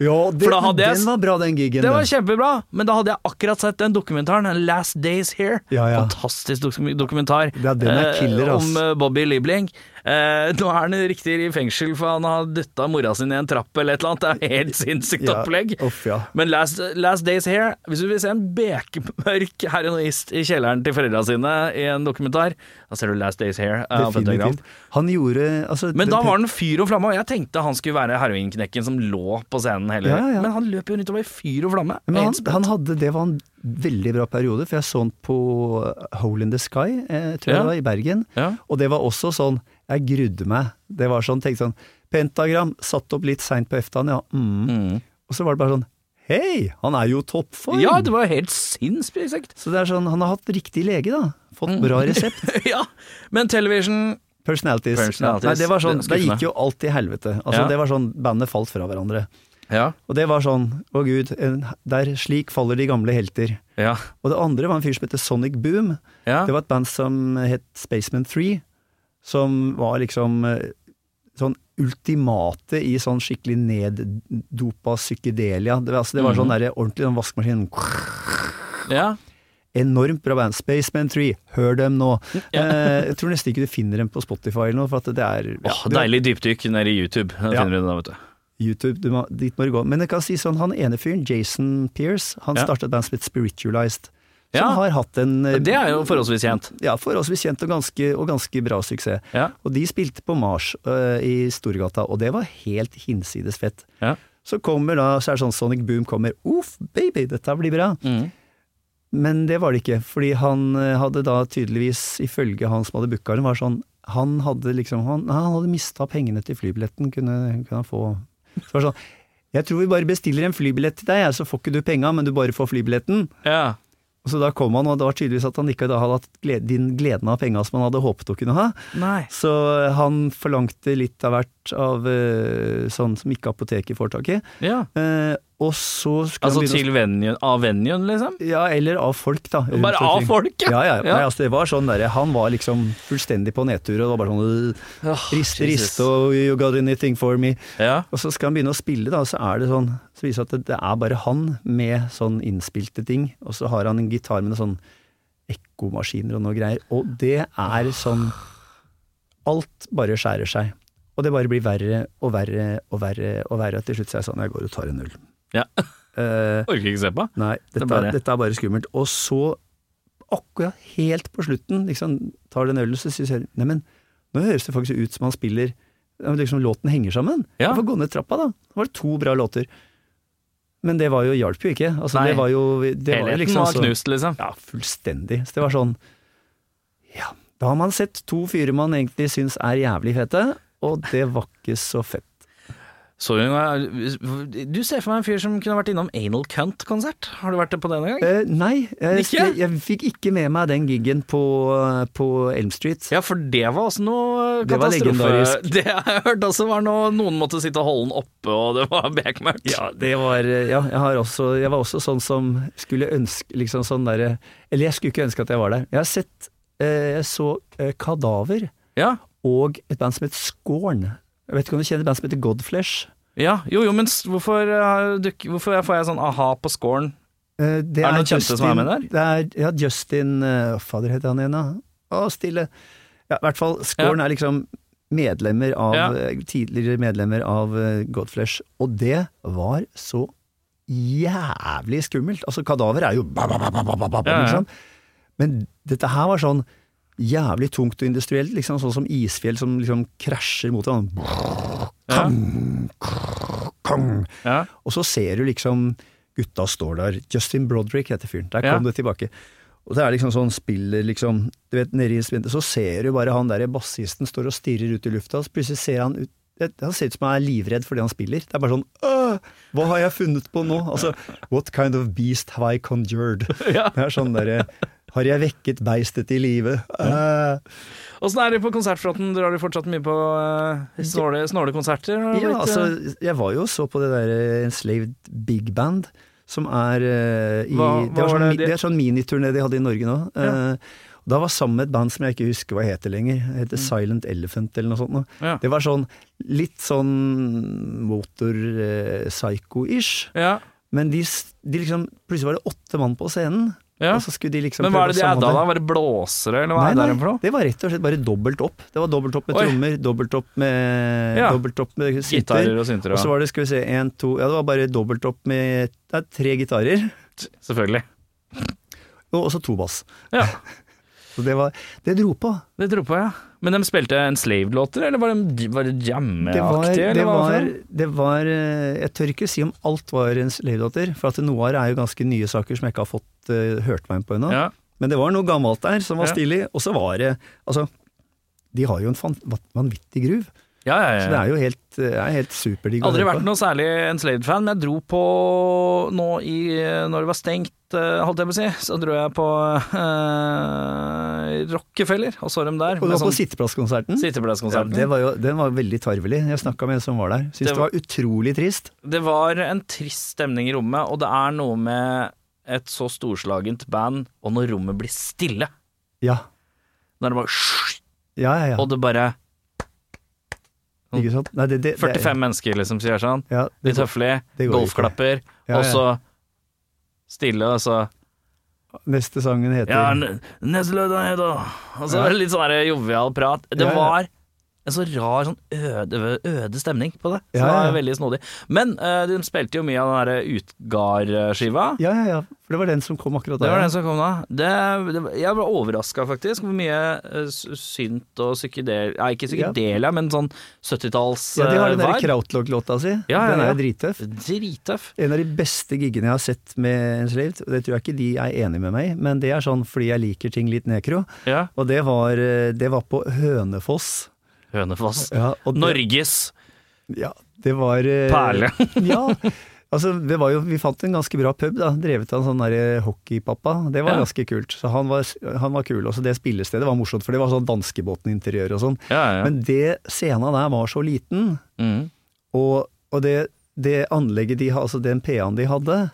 [SPEAKER 2] Ja,
[SPEAKER 1] For da hadde jeg-
[SPEAKER 2] den var bra, den gigen.
[SPEAKER 1] Det
[SPEAKER 2] den.
[SPEAKER 1] var kjempebra, men da hadde jeg akkurat sett den dokumentaren, Last Days Here.
[SPEAKER 2] Ja, ja.
[SPEAKER 1] Fantastisk dok- dokumentar
[SPEAKER 2] Ja, den er
[SPEAKER 1] eh,
[SPEAKER 2] killer, ass.
[SPEAKER 1] om eh, Bobby Liebling. Eh, nå er han riktig i fengsel for han har dytta mora sin i en trapp eller et eller annet. Det er helt sinnssykt
[SPEAKER 2] Ja,
[SPEAKER 1] opplegg.
[SPEAKER 2] uff, ja.
[SPEAKER 1] Men last, last Days Here, hvis du vil se en bekmørk heroinist i kjelleren til foreldra sine i en dokumentar, da ser du Last Days Here. eh, av Pentagram.
[SPEAKER 2] Definitivt. Han gjorde altså,
[SPEAKER 1] Men da
[SPEAKER 2] det-
[SPEAKER 1] var han fyr og flamme, og jeg tenkte han skulle være heroinknekken som lå på scenen hele
[SPEAKER 2] Ja, ja.
[SPEAKER 1] Men han løp jo rundt og var i fyr og flamme.
[SPEAKER 2] Men han,
[SPEAKER 1] Helt
[SPEAKER 2] han hadde, det var en veldig bra periode, for jeg så han på Hole in the Sky, eh, tror
[SPEAKER 1] Ja.
[SPEAKER 2] jeg det var, i Bergen.
[SPEAKER 1] Ja.
[SPEAKER 2] Og det var også sånn, jeg grudde meg. Det var sånn, tenkte sånn, Pentagram, satt opp litt seint på eftan, ja. Mm. Og så var det bare sånn, hei, han er jo i toppform!
[SPEAKER 1] Ja, det var helt sinnssykt.
[SPEAKER 2] Så det er sånn, han har hatt riktig lege da. Fått
[SPEAKER 1] Mm.
[SPEAKER 2] bra resept.
[SPEAKER 1] ja. Men television
[SPEAKER 2] Personalities.
[SPEAKER 1] Personalities.
[SPEAKER 2] Nei, det var sånn,
[SPEAKER 1] Det er
[SPEAKER 2] det
[SPEAKER 1] skuffende.
[SPEAKER 2] gikk jo alt i helvete. Altså,
[SPEAKER 1] Ja.
[SPEAKER 2] Det var sånn, bandet falt fra hverandre.
[SPEAKER 1] Ja.
[SPEAKER 2] Og det var sånn, å gud, en, der slik faller de gamle helter.
[SPEAKER 1] Ja.
[SPEAKER 2] Og det andre var en fyr som heter Sonic Boom.
[SPEAKER 1] ja.
[SPEAKER 2] Det var et band som het Spaceman 3, som var liksom eh, sånn ultimate i sånn skikkelig neddopa psykedelia. Det var, altså, det var
[SPEAKER 1] Mhm.
[SPEAKER 2] sånn derre ordentlig sånn vaskemaskin.
[SPEAKER 1] ja.
[SPEAKER 2] Enormt bra band. Spaceman 3, hør dem nå!
[SPEAKER 1] Ja.
[SPEAKER 2] Eh, jeg tror nesten ikke du finner dem på Spotify eller noe, for at det er ja,
[SPEAKER 1] Åh,
[SPEAKER 2] du-
[SPEAKER 1] deilig dypdykk nede i YouTube. Da
[SPEAKER 2] Ja.
[SPEAKER 1] finner du det, da, vet du.
[SPEAKER 2] YouTube, du må, dit må du gå. Men jeg kan si sånn, han ene fyren, Jason Pierce, han
[SPEAKER 1] Ja.
[SPEAKER 2] startet et band som het Spiritualized. som
[SPEAKER 1] Ja.
[SPEAKER 2] har hatt en eh,
[SPEAKER 1] Det er jo forholdsvis kjent.
[SPEAKER 2] ja, forholdsvis kjent og ganske, og ganske bra suksess.
[SPEAKER 1] Ja.
[SPEAKER 2] Og de spilte på Mars øh, i Storgata, og det var helt hinsides fett.
[SPEAKER 1] Ja.
[SPEAKER 2] Så kommer da, så er det sånn Sonic Boom kommer, uff, baby, dette blir bra.
[SPEAKER 1] Mm.
[SPEAKER 2] Men det var det ikke, fordi han øh, hadde da tydeligvis, ifølge han som hadde booka den, var sånn, han hadde liksom, han, han hadde mista pengene til flybilletten, kunne, kunne han få. Så var det sånn, jeg tror vi bare bestiller en flybillett til deg, jeg, så får ikke du penga, men du bare får flybilletten.
[SPEAKER 1] Ja.
[SPEAKER 2] Og Så da kom han, og det var tydeligvis at han ikke da hadde hatt gled- din gleden av penga som han hadde håpet å kunne ha.
[SPEAKER 1] Nei.
[SPEAKER 2] Så eh, han forlangte litt av hvert av eh, sånn som ikke apoteket får tak i.
[SPEAKER 1] Ja.
[SPEAKER 2] Eh, og så skulle
[SPEAKER 1] Altså
[SPEAKER 2] han begynne
[SPEAKER 1] til venuen, av venuen, liksom?
[SPEAKER 2] å- Ja, eller av folk, da. rundt
[SPEAKER 1] Bare av
[SPEAKER 2] omkring.
[SPEAKER 1] folk, ja.
[SPEAKER 2] Ja, ja.
[SPEAKER 1] Ja.
[SPEAKER 2] Nei, altså, det var sånn der, han var liksom fullstendig på nedtur, og det var bare sånn øh,
[SPEAKER 1] Jesus.
[SPEAKER 2] Riste, riste, og you got anything for me.
[SPEAKER 1] Ja.
[SPEAKER 2] Og så skal han begynne å spille, da, og så er det sånn Så viser det seg at det- det er bare han med sånn innspilte ting, og så har han en gitar med noen sånn ekkomaskiner og noe greier, og det er sånn Alt bare skjærer seg. Og det bare blir verre og verre og verre og verre, og til slutt så er jeg sånn Jeg går og tar en øl.
[SPEAKER 1] ja.
[SPEAKER 2] Eh,
[SPEAKER 1] Orker ikke se på.
[SPEAKER 2] nei, dette,
[SPEAKER 1] Det er bare-
[SPEAKER 2] er- dette er bare skummelt. Og så, akkurat helt på slutten, liksom, tar den ølen, så sier jeg Neimen, nå høres det faktisk ut som han spiller ja, men liksom Låten henger sammen.
[SPEAKER 1] Ja.
[SPEAKER 2] Jeg får gå ned trappa, da. Det var to bra låter. Men det var jo, hjalp jo ikke. Altså,
[SPEAKER 1] Nei.
[SPEAKER 2] det var jo, det var jo
[SPEAKER 1] Helheten
[SPEAKER 2] liksom
[SPEAKER 1] var
[SPEAKER 2] så-
[SPEAKER 1] knust, liksom.
[SPEAKER 2] Ja, fullstendig. Så det var sånn Ja. Da har man sett to fyrer man egentlig syns er jævlig fete, og det var ikke så fett.
[SPEAKER 1] Så hun- du ser for meg en fyr som kunne vært innom Anal Cunt-konsert. Har du vært det på den en gang?
[SPEAKER 2] Eh, nei, jeg,
[SPEAKER 1] Ikke?
[SPEAKER 2] jeg, jeg fikk ikke med meg den gigen på, eh, på Elm Street.
[SPEAKER 1] Ja, for det var også noe
[SPEAKER 2] Det var
[SPEAKER 1] katastrofe.
[SPEAKER 2] legendarisk.
[SPEAKER 1] Det har jeg hørt også var noe Noen måtte sitte og holde den oppe, og det var bekmørkt.
[SPEAKER 2] Ja, det var eh, Ja, jeg, har også, jeg var også sånn som skulle ønske liksom sånn derre Eller jeg skulle ikke ønske at jeg var der. Jeg har sett eh, Jeg så eh, Kadaver
[SPEAKER 1] Ja.
[SPEAKER 2] og et band som het Scorn. Jeg vet ikke om du kjenner et band som heter Godflesh?
[SPEAKER 1] Ja, jo jo, men s- hvorfor, eh, duk- hvorfor får jeg sånn aha på scoren?
[SPEAKER 2] Eh, det
[SPEAKER 1] Er det noen kjente som er med der?
[SPEAKER 2] Det er, ja, Justin eh, Hva fader heter han igjen, da? Å, stille. Ja, i hvert fall. Scorn er liksom medlemmer av
[SPEAKER 1] Ja.
[SPEAKER 2] eh, Tidligere medlemmer av eh, Godflesh. Og det var så jævlig skummelt. Altså, kadaver er jo ba, ba, ba, ba, ba, ba, ba,
[SPEAKER 1] Ja, ja.
[SPEAKER 2] liksom. Men dette her var sånn jævlig tungt og industrielt, liksom sånn som isfjell som liksom krasjer mot hverandre.
[SPEAKER 1] Ja.
[SPEAKER 2] Kong!
[SPEAKER 1] Ja.
[SPEAKER 2] Og så ser du liksom gutta står der. Justin Broderick heter fyren. Der kom
[SPEAKER 1] Ja.
[SPEAKER 2] det tilbake. Og det er liksom sånn spiller, liksom Du vet, nede i spintet, så ser du bare han der bassisten står og stirrer ut i lufta, og så plutselig ser han ut han ser ut som han er livredd for det han spiller. Det er bare sånn «Åh, Hva har jeg funnet på nå? Altså, What kind of beast have I conjured?
[SPEAKER 1] Ja.
[SPEAKER 2] Det er sånn derre Har jeg vekket beistet i live? Eh,
[SPEAKER 1] Åssen er det på konsertfronten? Drar du fortsatt mye på eh, snåle, snåle konserter? Har det
[SPEAKER 2] Ja,
[SPEAKER 1] blitt, eh?
[SPEAKER 2] altså, jeg var jo og så på det der eh, Enslaved Big Band, som er eh, i
[SPEAKER 1] Hva- hva
[SPEAKER 2] det, var
[SPEAKER 1] var
[SPEAKER 2] sånn,
[SPEAKER 1] det?
[SPEAKER 2] mi- det er sånn miniturné de hadde i Norge nå. Eh, da var sammen med et band som jeg ikke husker hva heter lenger. Det heter Silent Elephant eller noe sånt. nå.
[SPEAKER 1] Mm. Ja.
[SPEAKER 2] Det var sånn litt sånn motor-psycho-ish.
[SPEAKER 1] eh, ja.
[SPEAKER 2] Men de, s- de liksom Plutselig var det åtte mann på scenen.
[SPEAKER 1] Ja.
[SPEAKER 2] Og så skulle de liksom
[SPEAKER 1] Men hva
[SPEAKER 2] prøve
[SPEAKER 1] er det de
[SPEAKER 2] å
[SPEAKER 1] adda
[SPEAKER 2] samhandle.
[SPEAKER 1] da? Var det blåsere, eller hva
[SPEAKER 2] Nei,
[SPEAKER 1] er det
[SPEAKER 2] nei,
[SPEAKER 1] der for noe?
[SPEAKER 2] det var rett og slett bare dobbelt opp. Det var dobbelt opp med
[SPEAKER 1] Oi.
[SPEAKER 2] trommer, dobbelt opp med,
[SPEAKER 1] Ja.
[SPEAKER 2] dobbelt opp med synter.
[SPEAKER 1] Gitarer og synter
[SPEAKER 2] Og så
[SPEAKER 1] og
[SPEAKER 2] var det, skal vi se, en, to Ja, det var bare dobbelt opp med det er tre gitarer,
[SPEAKER 1] Selvfølgelig.
[SPEAKER 2] og også to bass.
[SPEAKER 1] Ja,
[SPEAKER 2] Så det var Det dro på.
[SPEAKER 1] det tror jeg på, ja. Men de spilte enslaved-låter, eller var det, var det
[SPEAKER 2] Det var,
[SPEAKER 1] jammeaktig? eller
[SPEAKER 2] det,
[SPEAKER 1] hva for
[SPEAKER 2] var,
[SPEAKER 1] noe?
[SPEAKER 2] det var eh, Jeg tør ikke si om alt var en slavedatter, for at noe av det er jo ganske nye saker som jeg ikke har fått eh, hørt meg inn på ennå.
[SPEAKER 1] ja.
[SPEAKER 2] Men det var noe gammelt der som var
[SPEAKER 1] Ja.
[SPEAKER 2] stilig, og så var det Altså, de har jo en fan, vanvittig groove,
[SPEAKER 1] Ja, ja, ja.
[SPEAKER 2] så det er jo helt, eh, er helt superdigg å
[SPEAKER 1] Aldri
[SPEAKER 2] høre
[SPEAKER 1] vært
[SPEAKER 2] på.
[SPEAKER 1] noe særlig Enslaved-fan, men jeg dro på nå i Når det var stengt, eh, holdt jeg på å si, så dro jeg på eh, Rockefeller og så dem der.
[SPEAKER 2] Og det
[SPEAKER 1] med
[SPEAKER 2] var på
[SPEAKER 1] sånn
[SPEAKER 2] sitteplasskonserten. Ja,
[SPEAKER 1] sitteplasskonserten.
[SPEAKER 2] det var jo, den var veldig tarvelig. Jeg snakka med en som var der.
[SPEAKER 1] Det
[SPEAKER 2] Syns det var, utrolig trist.
[SPEAKER 1] det var en trist stemning i rommet, og det er noe med et så storslagent band, og når rommet blir stille,
[SPEAKER 2] Ja,
[SPEAKER 1] når det bare «Sj»,
[SPEAKER 2] ja, ja. ja.
[SPEAKER 1] Og det bare
[SPEAKER 2] Ikke sant? Nei, det, det, det,
[SPEAKER 1] 45 mennesker liksom sier sånn,
[SPEAKER 2] Ja, det,
[SPEAKER 1] litt høflig,
[SPEAKER 2] det går
[SPEAKER 1] golfklapper,
[SPEAKER 2] Ja,
[SPEAKER 1] og
[SPEAKER 2] ja.
[SPEAKER 1] så stille, og så
[SPEAKER 2] neste sangen heter
[SPEAKER 1] Ja, n- neste lørdag er det da. Og så
[SPEAKER 2] Ja.
[SPEAKER 1] litt sånn der jovial prat. Det
[SPEAKER 2] Ja, ja.
[SPEAKER 1] var en så rar, sånn øde, øde stemning på det. Så
[SPEAKER 2] Ja,
[SPEAKER 1] det var
[SPEAKER 2] ja, ja.
[SPEAKER 1] veldig snodig. Men eh, de spilte jo mye av den derre Utgard-skiva.
[SPEAKER 2] Ja, ja, ja. For det var den som kom akkurat
[SPEAKER 1] Det
[SPEAKER 2] der.
[SPEAKER 1] var
[SPEAKER 2] ja.
[SPEAKER 1] den som kom da. Det, det, jeg ble overraska faktisk hvor mye eh, s- synt og psykedel... Nei, ikke psykedelia, men sånn 70-talls
[SPEAKER 2] Ja, de har den
[SPEAKER 1] eh,
[SPEAKER 2] der
[SPEAKER 1] vibe.
[SPEAKER 2] Krautlog-låta si.
[SPEAKER 1] Ja, ja,
[SPEAKER 2] Den
[SPEAKER 1] ja.
[SPEAKER 2] er drittøff.
[SPEAKER 1] Drittøff.
[SPEAKER 2] En av de beste giggene jeg har sett med Enslaved, og det tror jeg ikke de er enig med meg i, men det er sånn fordi jeg liker ting litt nekro,
[SPEAKER 1] Ja.
[SPEAKER 2] og det var, eh, det var på Hønefoss.
[SPEAKER 1] Hønefoss.
[SPEAKER 2] Ja, og det-
[SPEAKER 1] Norges
[SPEAKER 2] Ja, det var eh,
[SPEAKER 1] perle.
[SPEAKER 2] ja. Altså, det var jo, vi fant en ganske bra pub, da, drevet av en sånn derre hockeypappa. Det var
[SPEAKER 1] Ja.
[SPEAKER 2] ganske kult. Så han var, han var kul. Også det spillestedet var morsomt, for det var sånn danskebåten-interiør og sånn.
[SPEAKER 1] Ja, ja.
[SPEAKER 2] Men det scena der var så liten,
[SPEAKER 1] Mm.
[SPEAKER 2] og, og det, det anlegget de hadde, altså den PA-en de hadde,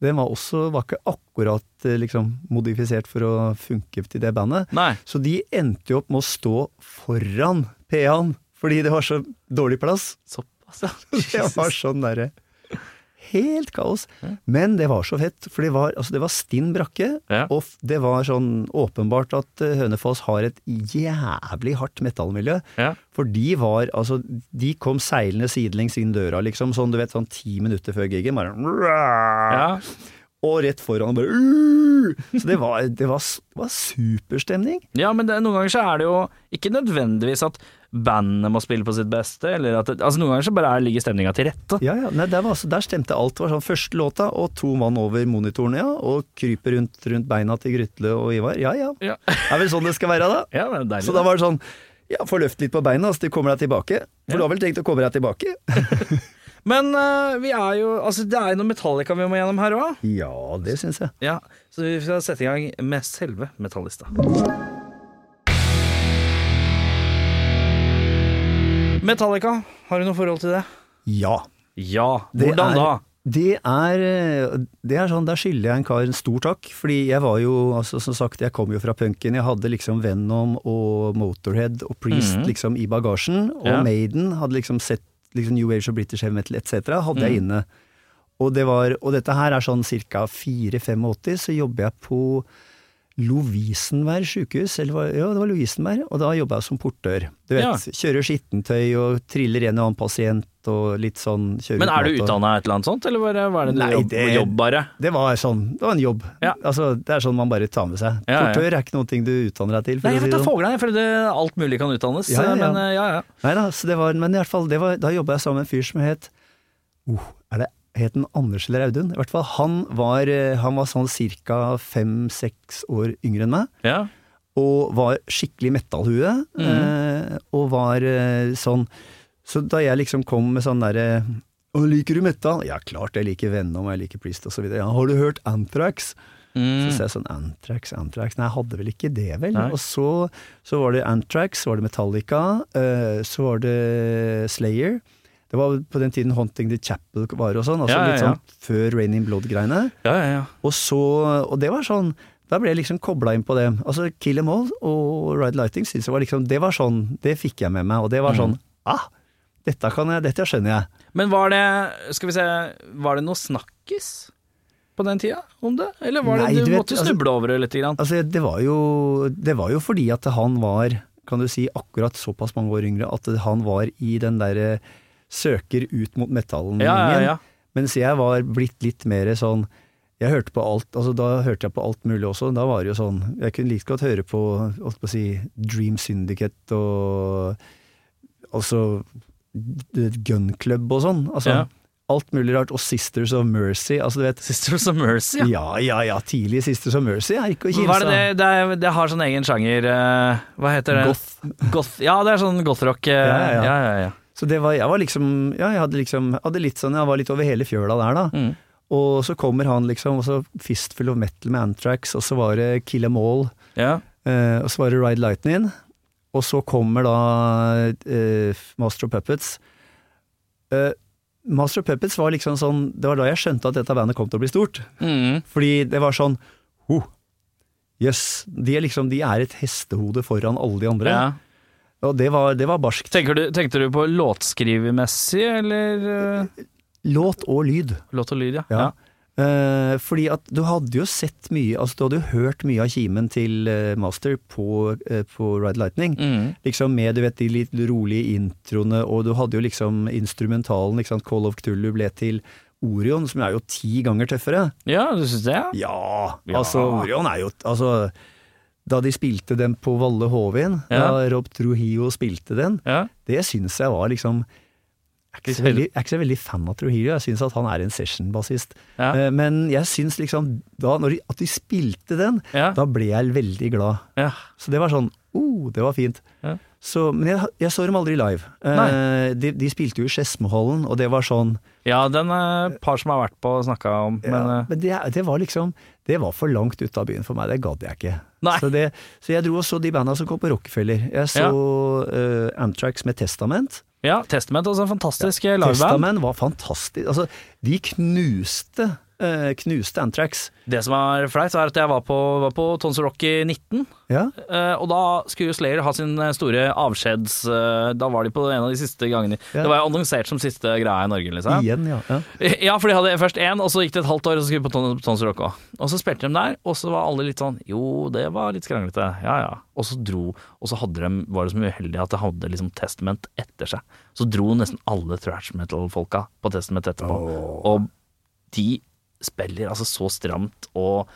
[SPEAKER 2] den var også var ikke akkurat eh, liksom, modifisert for å funke til det bandet.
[SPEAKER 1] Nei.
[SPEAKER 2] Så de endte jo opp med å stå foran PA-en, fordi det var så dårlig plass.
[SPEAKER 1] Såpass, ja.
[SPEAKER 2] Det var sånn derre Helt kaos. Men det var så fett, for det var, altså det var stinn brakke,
[SPEAKER 1] Ja.
[SPEAKER 2] og f- det var sånn åpenbart at eh, Hønefoss har et jævlig hardt metallmiljø.
[SPEAKER 1] Ja.
[SPEAKER 2] For de var altså De kom seilende sidelengs inn døra, liksom, sånn du vet, sånn ti minutter før gigen. Bare,
[SPEAKER 1] Ja.
[SPEAKER 2] og rett foran bare "Uh!" Så det var, det var, s- det var superstemning.
[SPEAKER 1] ja, men det, noen ganger så er det jo ikke nødvendigvis at bandet må spille på sitt beste, eller at det, Altså, noen ganger så bare er, ligger stemninga til rette.
[SPEAKER 2] Ja, ja. Nei, der, var, altså- der stemte alt. Det var sånn første låta og to mann over monitoren, ja. Og krype rundt, rundt beina til Grytle og Ivar. Ja, ja.
[SPEAKER 1] Ja.
[SPEAKER 2] Det er vel sånn det skal være, da.
[SPEAKER 1] Ja, det er deilig.
[SPEAKER 2] Så da var det sånn ja, få løft litt på beina så du kommer deg tilbake. For du har vel tenkt å komme deg tilbake?
[SPEAKER 1] Men eh, vi er jo Altså, det er jo noe Metallica vi må gjennom her òg.
[SPEAKER 2] Ja, det syns jeg.
[SPEAKER 1] Ja, så vi skal sette i gang med selve metallista. Metallica, har du noe forhold til det?
[SPEAKER 2] Ja.
[SPEAKER 1] Ja.
[SPEAKER 2] Det
[SPEAKER 1] Hvordan
[SPEAKER 2] er-
[SPEAKER 1] da?
[SPEAKER 2] Det er, eh, det er sånn, Der skylder jeg en kar en stor takk. Fordi jeg var jo, altså som sagt, jeg kom jo fra punken. Jeg hadde liksom Venom og Motorhead og Priest liksom i bagasjen. Og
[SPEAKER 1] Mhm. Ja.
[SPEAKER 2] Maiden hadde liksom sett liksom New Age og British Heavy Metal etc. hadde
[SPEAKER 1] Mhm.
[SPEAKER 2] jeg inne. Og, det var, og dette her er sånn ca. 4-85, så jobber jeg på Lovisenberg sjukehus, eller hva, ja, det var Lovisenberg, og da jobba jeg som portør. Du vet,
[SPEAKER 1] Ja.
[SPEAKER 2] kjører skittentøy og triller en og annen pasient og litt sånn kjører
[SPEAKER 1] Men er du
[SPEAKER 2] mat og-
[SPEAKER 1] utdanna et eller annet sånt, eller bare, hva er det du
[SPEAKER 2] Nei,
[SPEAKER 1] jobb,
[SPEAKER 2] det-
[SPEAKER 1] jobb bare?
[SPEAKER 2] det var sånn, det var en jobb.
[SPEAKER 1] Ja.
[SPEAKER 2] Altså, det er sånn man bare tar med seg.
[SPEAKER 1] Ja, ja.
[SPEAKER 2] Portør er ikke noe ting du utdanner deg til. for
[SPEAKER 1] Nei,
[SPEAKER 2] å
[SPEAKER 1] jeg
[SPEAKER 2] si
[SPEAKER 1] vet da
[SPEAKER 2] det sånn.
[SPEAKER 1] fogla, jeg føler det- alt mulig kan utdannes.
[SPEAKER 2] Ja, ja, ja.
[SPEAKER 1] Men eh, ja, ja.
[SPEAKER 2] Neida, så det var, men i hvert fall, det var, da jobba jeg sammen med en fyr som het oh, er det, Het han Anders eller Audun? I hvert fall, han var, eh, han var sånn ca. fem-seks år yngre enn meg.
[SPEAKER 1] ja.
[SPEAKER 2] og var skikkelig metallhue.
[SPEAKER 1] Mhm.
[SPEAKER 2] Eh, og var eh, sånn Så da jeg liksom kom med sånn derre Å, liker du metal? Ja, klart jeg liker Venom og jeg liker Priest osv. Ja, har du hørt Anthrax?
[SPEAKER 1] Mm.
[SPEAKER 2] Så sa jeg sånn Anthrax, Anthrax Nei, jeg hadde vel ikke det, vel?
[SPEAKER 1] Nei.
[SPEAKER 2] Og så, så var det Anthrax, så var det Metallica, eh, så var det Slayer. Det var på den tiden Haunting the Chapel var og sånn, altså
[SPEAKER 1] Ja, ja,
[SPEAKER 2] litt
[SPEAKER 1] ja.
[SPEAKER 2] sånn før Rain in Blood-greiene.
[SPEAKER 1] ja, ja, ja.
[SPEAKER 2] Og så, og det var sånn da ble jeg liksom kobla inn på det. Altså Kill Em All og Ride Lighting synes jeg var liksom Det var sånn, det fikk jeg med meg, og det
[SPEAKER 1] Mm.
[SPEAKER 2] var sånn Ah! Dette kan jeg, dette skjønner jeg.
[SPEAKER 1] Men var det Skal vi se, var det noe snakkis på den tida om det? Eller var
[SPEAKER 2] Nei,
[SPEAKER 1] det du,
[SPEAKER 2] du vet,
[SPEAKER 1] måtte
[SPEAKER 2] altså-
[SPEAKER 1] snuble over det lite grann?
[SPEAKER 2] Altså det var jo Det var jo fordi at han var, kan du si, akkurat såpass mange år yngre at han var i den derre søker ut mot metallen
[SPEAKER 1] Ja, ja, ja.
[SPEAKER 2] Mens jeg var blitt litt mer sånn jeg hørte på alt, altså Da hørte jeg på alt mulig også. Da var det jo sånn Jeg kunne like godt høre på, holdt på å si, Dream Syndicate og Altså Gun Club og sånn. Altså,
[SPEAKER 1] Ja.
[SPEAKER 2] Alt mulig rart. Og Sisters of Mercy. Altså, du vet
[SPEAKER 1] Sisters of Mercy, ja.
[SPEAKER 2] Ja, ja, ja. Tidlig Sisters of Mercy er ikke å kimse
[SPEAKER 1] Hva er det,
[SPEAKER 2] av.
[SPEAKER 1] det, det, er, det har sånn egen sjanger eh, Hva heter det? Goth. ja, det er sånn gothrock. eh,
[SPEAKER 2] Ja, ja, ja.
[SPEAKER 1] ja, ja, ja.
[SPEAKER 2] Så det var, jeg var liksom Ja, jeg hadde liksom hadde litt sånn, jeg var litt over hele fjøla der, da.
[SPEAKER 1] Mm.
[SPEAKER 2] Og så kommer han liksom, og så Fistful of Metal med Anthrax, og så var det Kill Em All.
[SPEAKER 1] ja.
[SPEAKER 2] Eh, og så var det Ride Lightning. Og så kommer da eh, Master of Puppets. Eh, Master of Puppets var liksom sånn Det var da jeg skjønte at dette bandet kom til å bli stort.
[SPEAKER 1] Mm.
[SPEAKER 2] Fordi det var sånn oh, Jøss. de, er liksom, de er et hestehode foran alle de andre.
[SPEAKER 1] ja.
[SPEAKER 2] Og det var, det var barskt.
[SPEAKER 1] Tenker du, tenkte du på låtskrivermessig, eller eh,
[SPEAKER 2] Låt og lyd.
[SPEAKER 1] låt og lyd, ja?
[SPEAKER 2] Ja. Eh, fordi at du hadde jo sett mye, altså du hadde jo hørt mye av kimen til eh, Master på, eh, på Ride Lightning.
[SPEAKER 1] Mm.
[SPEAKER 2] Liksom med du vet, de litt rolige introene, og du hadde jo liksom instrumentalen. Ikke sant? Call of Cthulhu ble til Orion, som er jo ti ganger tøffere.
[SPEAKER 1] Ja, du syns det? ja?
[SPEAKER 2] Ja,
[SPEAKER 1] Ja.
[SPEAKER 2] altså Orion er jo altså, Da de spilte den på Valle Hovin,
[SPEAKER 1] Ja.
[SPEAKER 2] da Rob Trujillo spilte den,
[SPEAKER 1] Ja. det
[SPEAKER 2] det syns jeg var liksom jeg er, ikke så veldig, jeg er ikke så veldig fan av Trujillo, jeg syns at han er en session-bassist.
[SPEAKER 1] Ja.
[SPEAKER 2] Eh, Men jeg syns liksom da, når de, at de spilte den,
[SPEAKER 1] Ja.
[SPEAKER 2] da ble jeg veldig glad.
[SPEAKER 1] ja.
[SPEAKER 2] Så det var sånn oh, det var fint.
[SPEAKER 1] Ja.
[SPEAKER 2] Så, men jeg, jeg så dem aldri live. Eh, de, de spilte jo i Skedsmohallen, og det var sånn
[SPEAKER 1] ja den er et par som har vært på og snakka om, men
[SPEAKER 2] ja,
[SPEAKER 1] eh,
[SPEAKER 2] men det, det var liksom Det var for langt ute av byen for meg, det gadd jeg ikke.
[SPEAKER 1] Nei.
[SPEAKER 2] Så, det, så jeg dro og så de banda som kom på Rockefeller. Jeg så eh, Amtrax med Testament.
[SPEAKER 1] Ja, Testament også en fantastisk eh, liveband.
[SPEAKER 2] Testament var fantastisk. Altså, de knuste eh, Knuste Amtrax.
[SPEAKER 1] Det som er flaut, er at jeg var på, var på Tons Rock i 19,
[SPEAKER 2] Ja.
[SPEAKER 1] eh, og da skulle jo Slayer ha sin eh, store avskjeds... eh, Da var de på en av de siste gangene.
[SPEAKER 2] Ja.
[SPEAKER 1] Det var jo annonsert som siste greia i Norge, liksom.
[SPEAKER 2] Igjen, ja. ja.
[SPEAKER 1] Ja, for de hadde først én, og så gikk det et halvt år, og så skulle vi på Ton- Tons Rock òg. Og så spilte de der, og så var alle litt sånn Jo, det var litt skranglete. Ja ja. Og så dro Og så hadde de, var det så uheldig at de hadde liksom Testament etter seg. Så dro nesten alle trash metal-folka på Testament etterpå. Og de spiller altså så stramt, og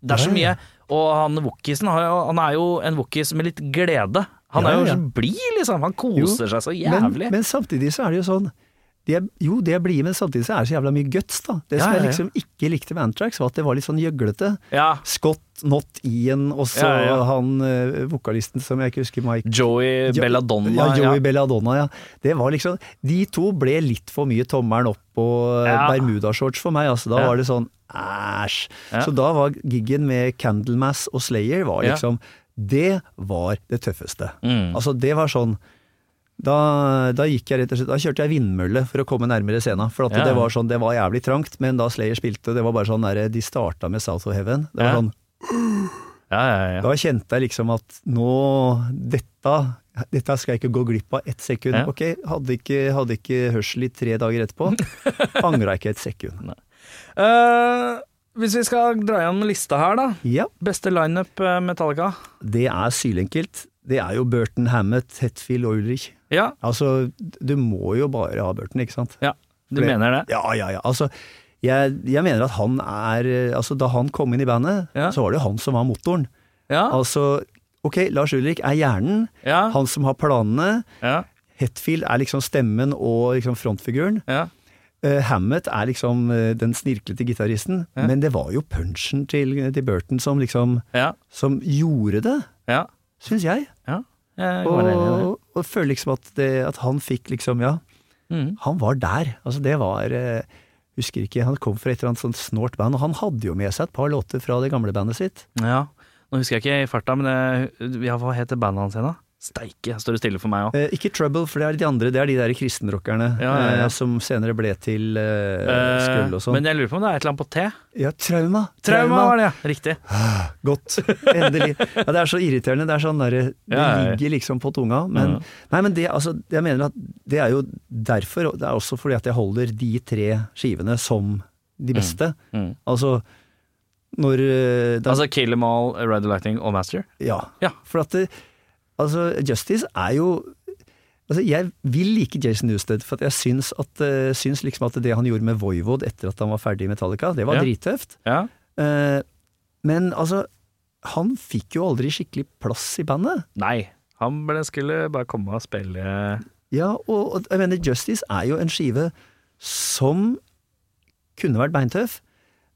[SPEAKER 1] det er så mye. Og han wokisen, har jo- han er jo en wokis med litt glede. Han
[SPEAKER 2] Ja,
[SPEAKER 1] er jo
[SPEAKER 2] ja.
[SPEAKER 1] så blid, liksom. Han koser seg så jævlig.
[SPEAKER 2] Men, men samtidig så er det jo sånn de er, jo, de er blide, men samtidig så er det så jævla mye guts, da. Det
[SPEAKER 1] Ja,
[SPEAKER 2] som
[SPEAKER 1] ja, ja.
[SPEAKER 2] jeg liksom ikke likte med Antrax, var at det var litt sånn gjøglete.
[SPEAKER 1] Ja.
[SPEAKER 2] Scott Not Ian, og så
[SPEAKER 1] Ja, ja.
[SPEAKER 2] han eh, vokalisten som jeg ikke husker Mike
[SPEAKER 1] Joey
[SPEAKER 2] Jo-
[SPEAKER 1] Belladonna.
[SPEAKER 2] Ja, Joey
[SPEAKER 1] ja.
[SPEAKER 2] Belladonna, ja. Det var liksom De to ble litt for mye tommelen opp og eh,
[SPEAKER 1] Ja.
[SPEAKER 2] bermudashorts for meg, altså. Da
[SPEAKER 1] Ja.
[SPEAKER 2] var det sånn æsj.
[SPEAKER 1] Ja.
[SPEAKER 2] Så da var giggen med Candlemass og Slayer var
[SPEAKER 1] Ja.
[SPEAKER 2] liksom Det var det tøffeste.
[SPEAKER 1] Mm.
[SPEAKER 2] Altså, det var sånn da, da gikk jeg rett og slett Da kjørte jeg vindmølle for å komme nærmere scena. For at
[SPEAKER 1] Ja.
[SPEAKER 2] det var sånn, det var jævlig trangt, men da Slayer spilte, det var bare sånn der, De starta med South of Heaven. Det var
[SPEAKER 1] Ja.
[SPEAKER 2] sånn
[SPEAKER 1] Ja, ja, ja.
[SPEAKER 2] Da kjente jeg liksom at nå Dette, dette skal jeg ikke gå glipp av ett sekund.
[SPEAKER 1] Ja.
[SPEAKER 2] Ok, hadde ikke, hadde ikke hørsel i tre dager etterpå. Angra ikke et sekund.
[SPEAKER 1] Eh, hvis vi skal dra igjen med lista her, da.
[SPEAKER 2] Ja,
[SPEAKER 1] Beste lineup eh, Metallica.
[SPEAKER 2] det er sylenkelt. Det er jo Burton Hammett, Hetfield og Ulrich.
[SPEAKER 1] Ja,
[SPEAKER 2] Altså, du må jo bare ha Burton, ikke sant?
[SPEAKER 1] ja du
[SPEAKER 2] Fordi-
[SPEAKER 1] mener det?
[SPEAKER 2] Ja, ja, ja. Altså, jeg, jeg mener at han er eh, Altså, da han kom inn i bandet,
[SPEAKER 1] Ja.
[SPEAKER 2] så var det jo han som var motoren.
[SPEAKER 1] Ja.
[SPEAKER 2] Altså, ok, Lars Ulrik er hjernen.
[SPEAKER 1] Ja.
[SPEAKER 2] Han som har planene.
[SPEAKER 1] ja,
[SPEAKER 2] Hetfield er liksom stemmen og liksom frontfiguren.
[SPEAKER 1] ja.
[SPEAKER 2] Eh, Hammett er liksom eh, den snirklete gitaristen.
[SPEAKER 1] Ja.
[SPEAKER 2] Men det var jo punchen til, eh, til Burton som liksom
[SPEAKER 1] Ja.
[SPEAKER 2] som gjorde det,
[SPEAKER 1] ja.
[SPEAKER 2] syns jeg.
[SPEAKER 1] ja. Jeg går enig i det.
[SPEAKER 2] Og, og føler liksom at, det, at han fikk liksom Ja,
[SPEAKER 1] Mhm.
[SPEAKER 2] han var der. Altså, det var eh, Husker ikke, han kom fra et eller annet sånt snålt band, og han hadde jo med seg et par låter fra det gamle bandet sitt.
[SPEAKER 1] Ja. Nå husker jeg ikke i farta, men det, ja, hva heter bandet hans igjen, da? Steike, står det stille for meg òg.
[SPEAKER 2] Eh, ikke Trouble, for det er de andre, det er de der kristenrockerne
[SPEAKER 1] Ja, ja, ja.
[SPEAKER 2] eh, som senere ble til eh, Skrull og sånn.
[SPEAKER 1] men jeg lurer på om det er et eller annet på T.
[SPEAKER 2] Ja, trauma.
[SPEAKER 1] Trauma var det, ja. Riktig.
[SPEAKER 2] Godt. Endelig. Ja, det er så irriterende. Det er sånn derre Det
[SPEAKER 1] Ja, ja, ja.
[SPEAKER 2] ligger liksom på tunga. Men,
[SPEAKER 1] Ja.
[SPEAKER 2] nei, men det, altså, jeg mener at det er jo derfor, og det er også fordi at jeg holder de tre skivene som de beste.
[SPEAKER 1] Mm.
[SPEAKER 2] Altså når eh, da,
[SPEAKER 1] Altså Kill Em All, Ride the Lightning og Master.
[SPEAKER 2] ja.
[SPEAKER 1] ja.
[SPEAKER 2] For at det, altså, Justice er jo Altså, jeg vil like Jason Newsted, for at jeg syns, at, eh, syns liksom at det han gjorde med Voivod etter at han var ferdig i Metallica, det var
[SPEAKER 1] Ja.
[SPEAKER 2] drittøft.
[SPEAKER 1] Ja.
[SPEAKER 2] Eh, men altså, han fikk jo aldri skikkelig plass i bandet.
[SPEAKER 1] Nei. Han ble, skulle bare komme og spille
[SPEAKER 2] Ja, og, og jeg mener Justice er jo en skive som kunne vært beintøff,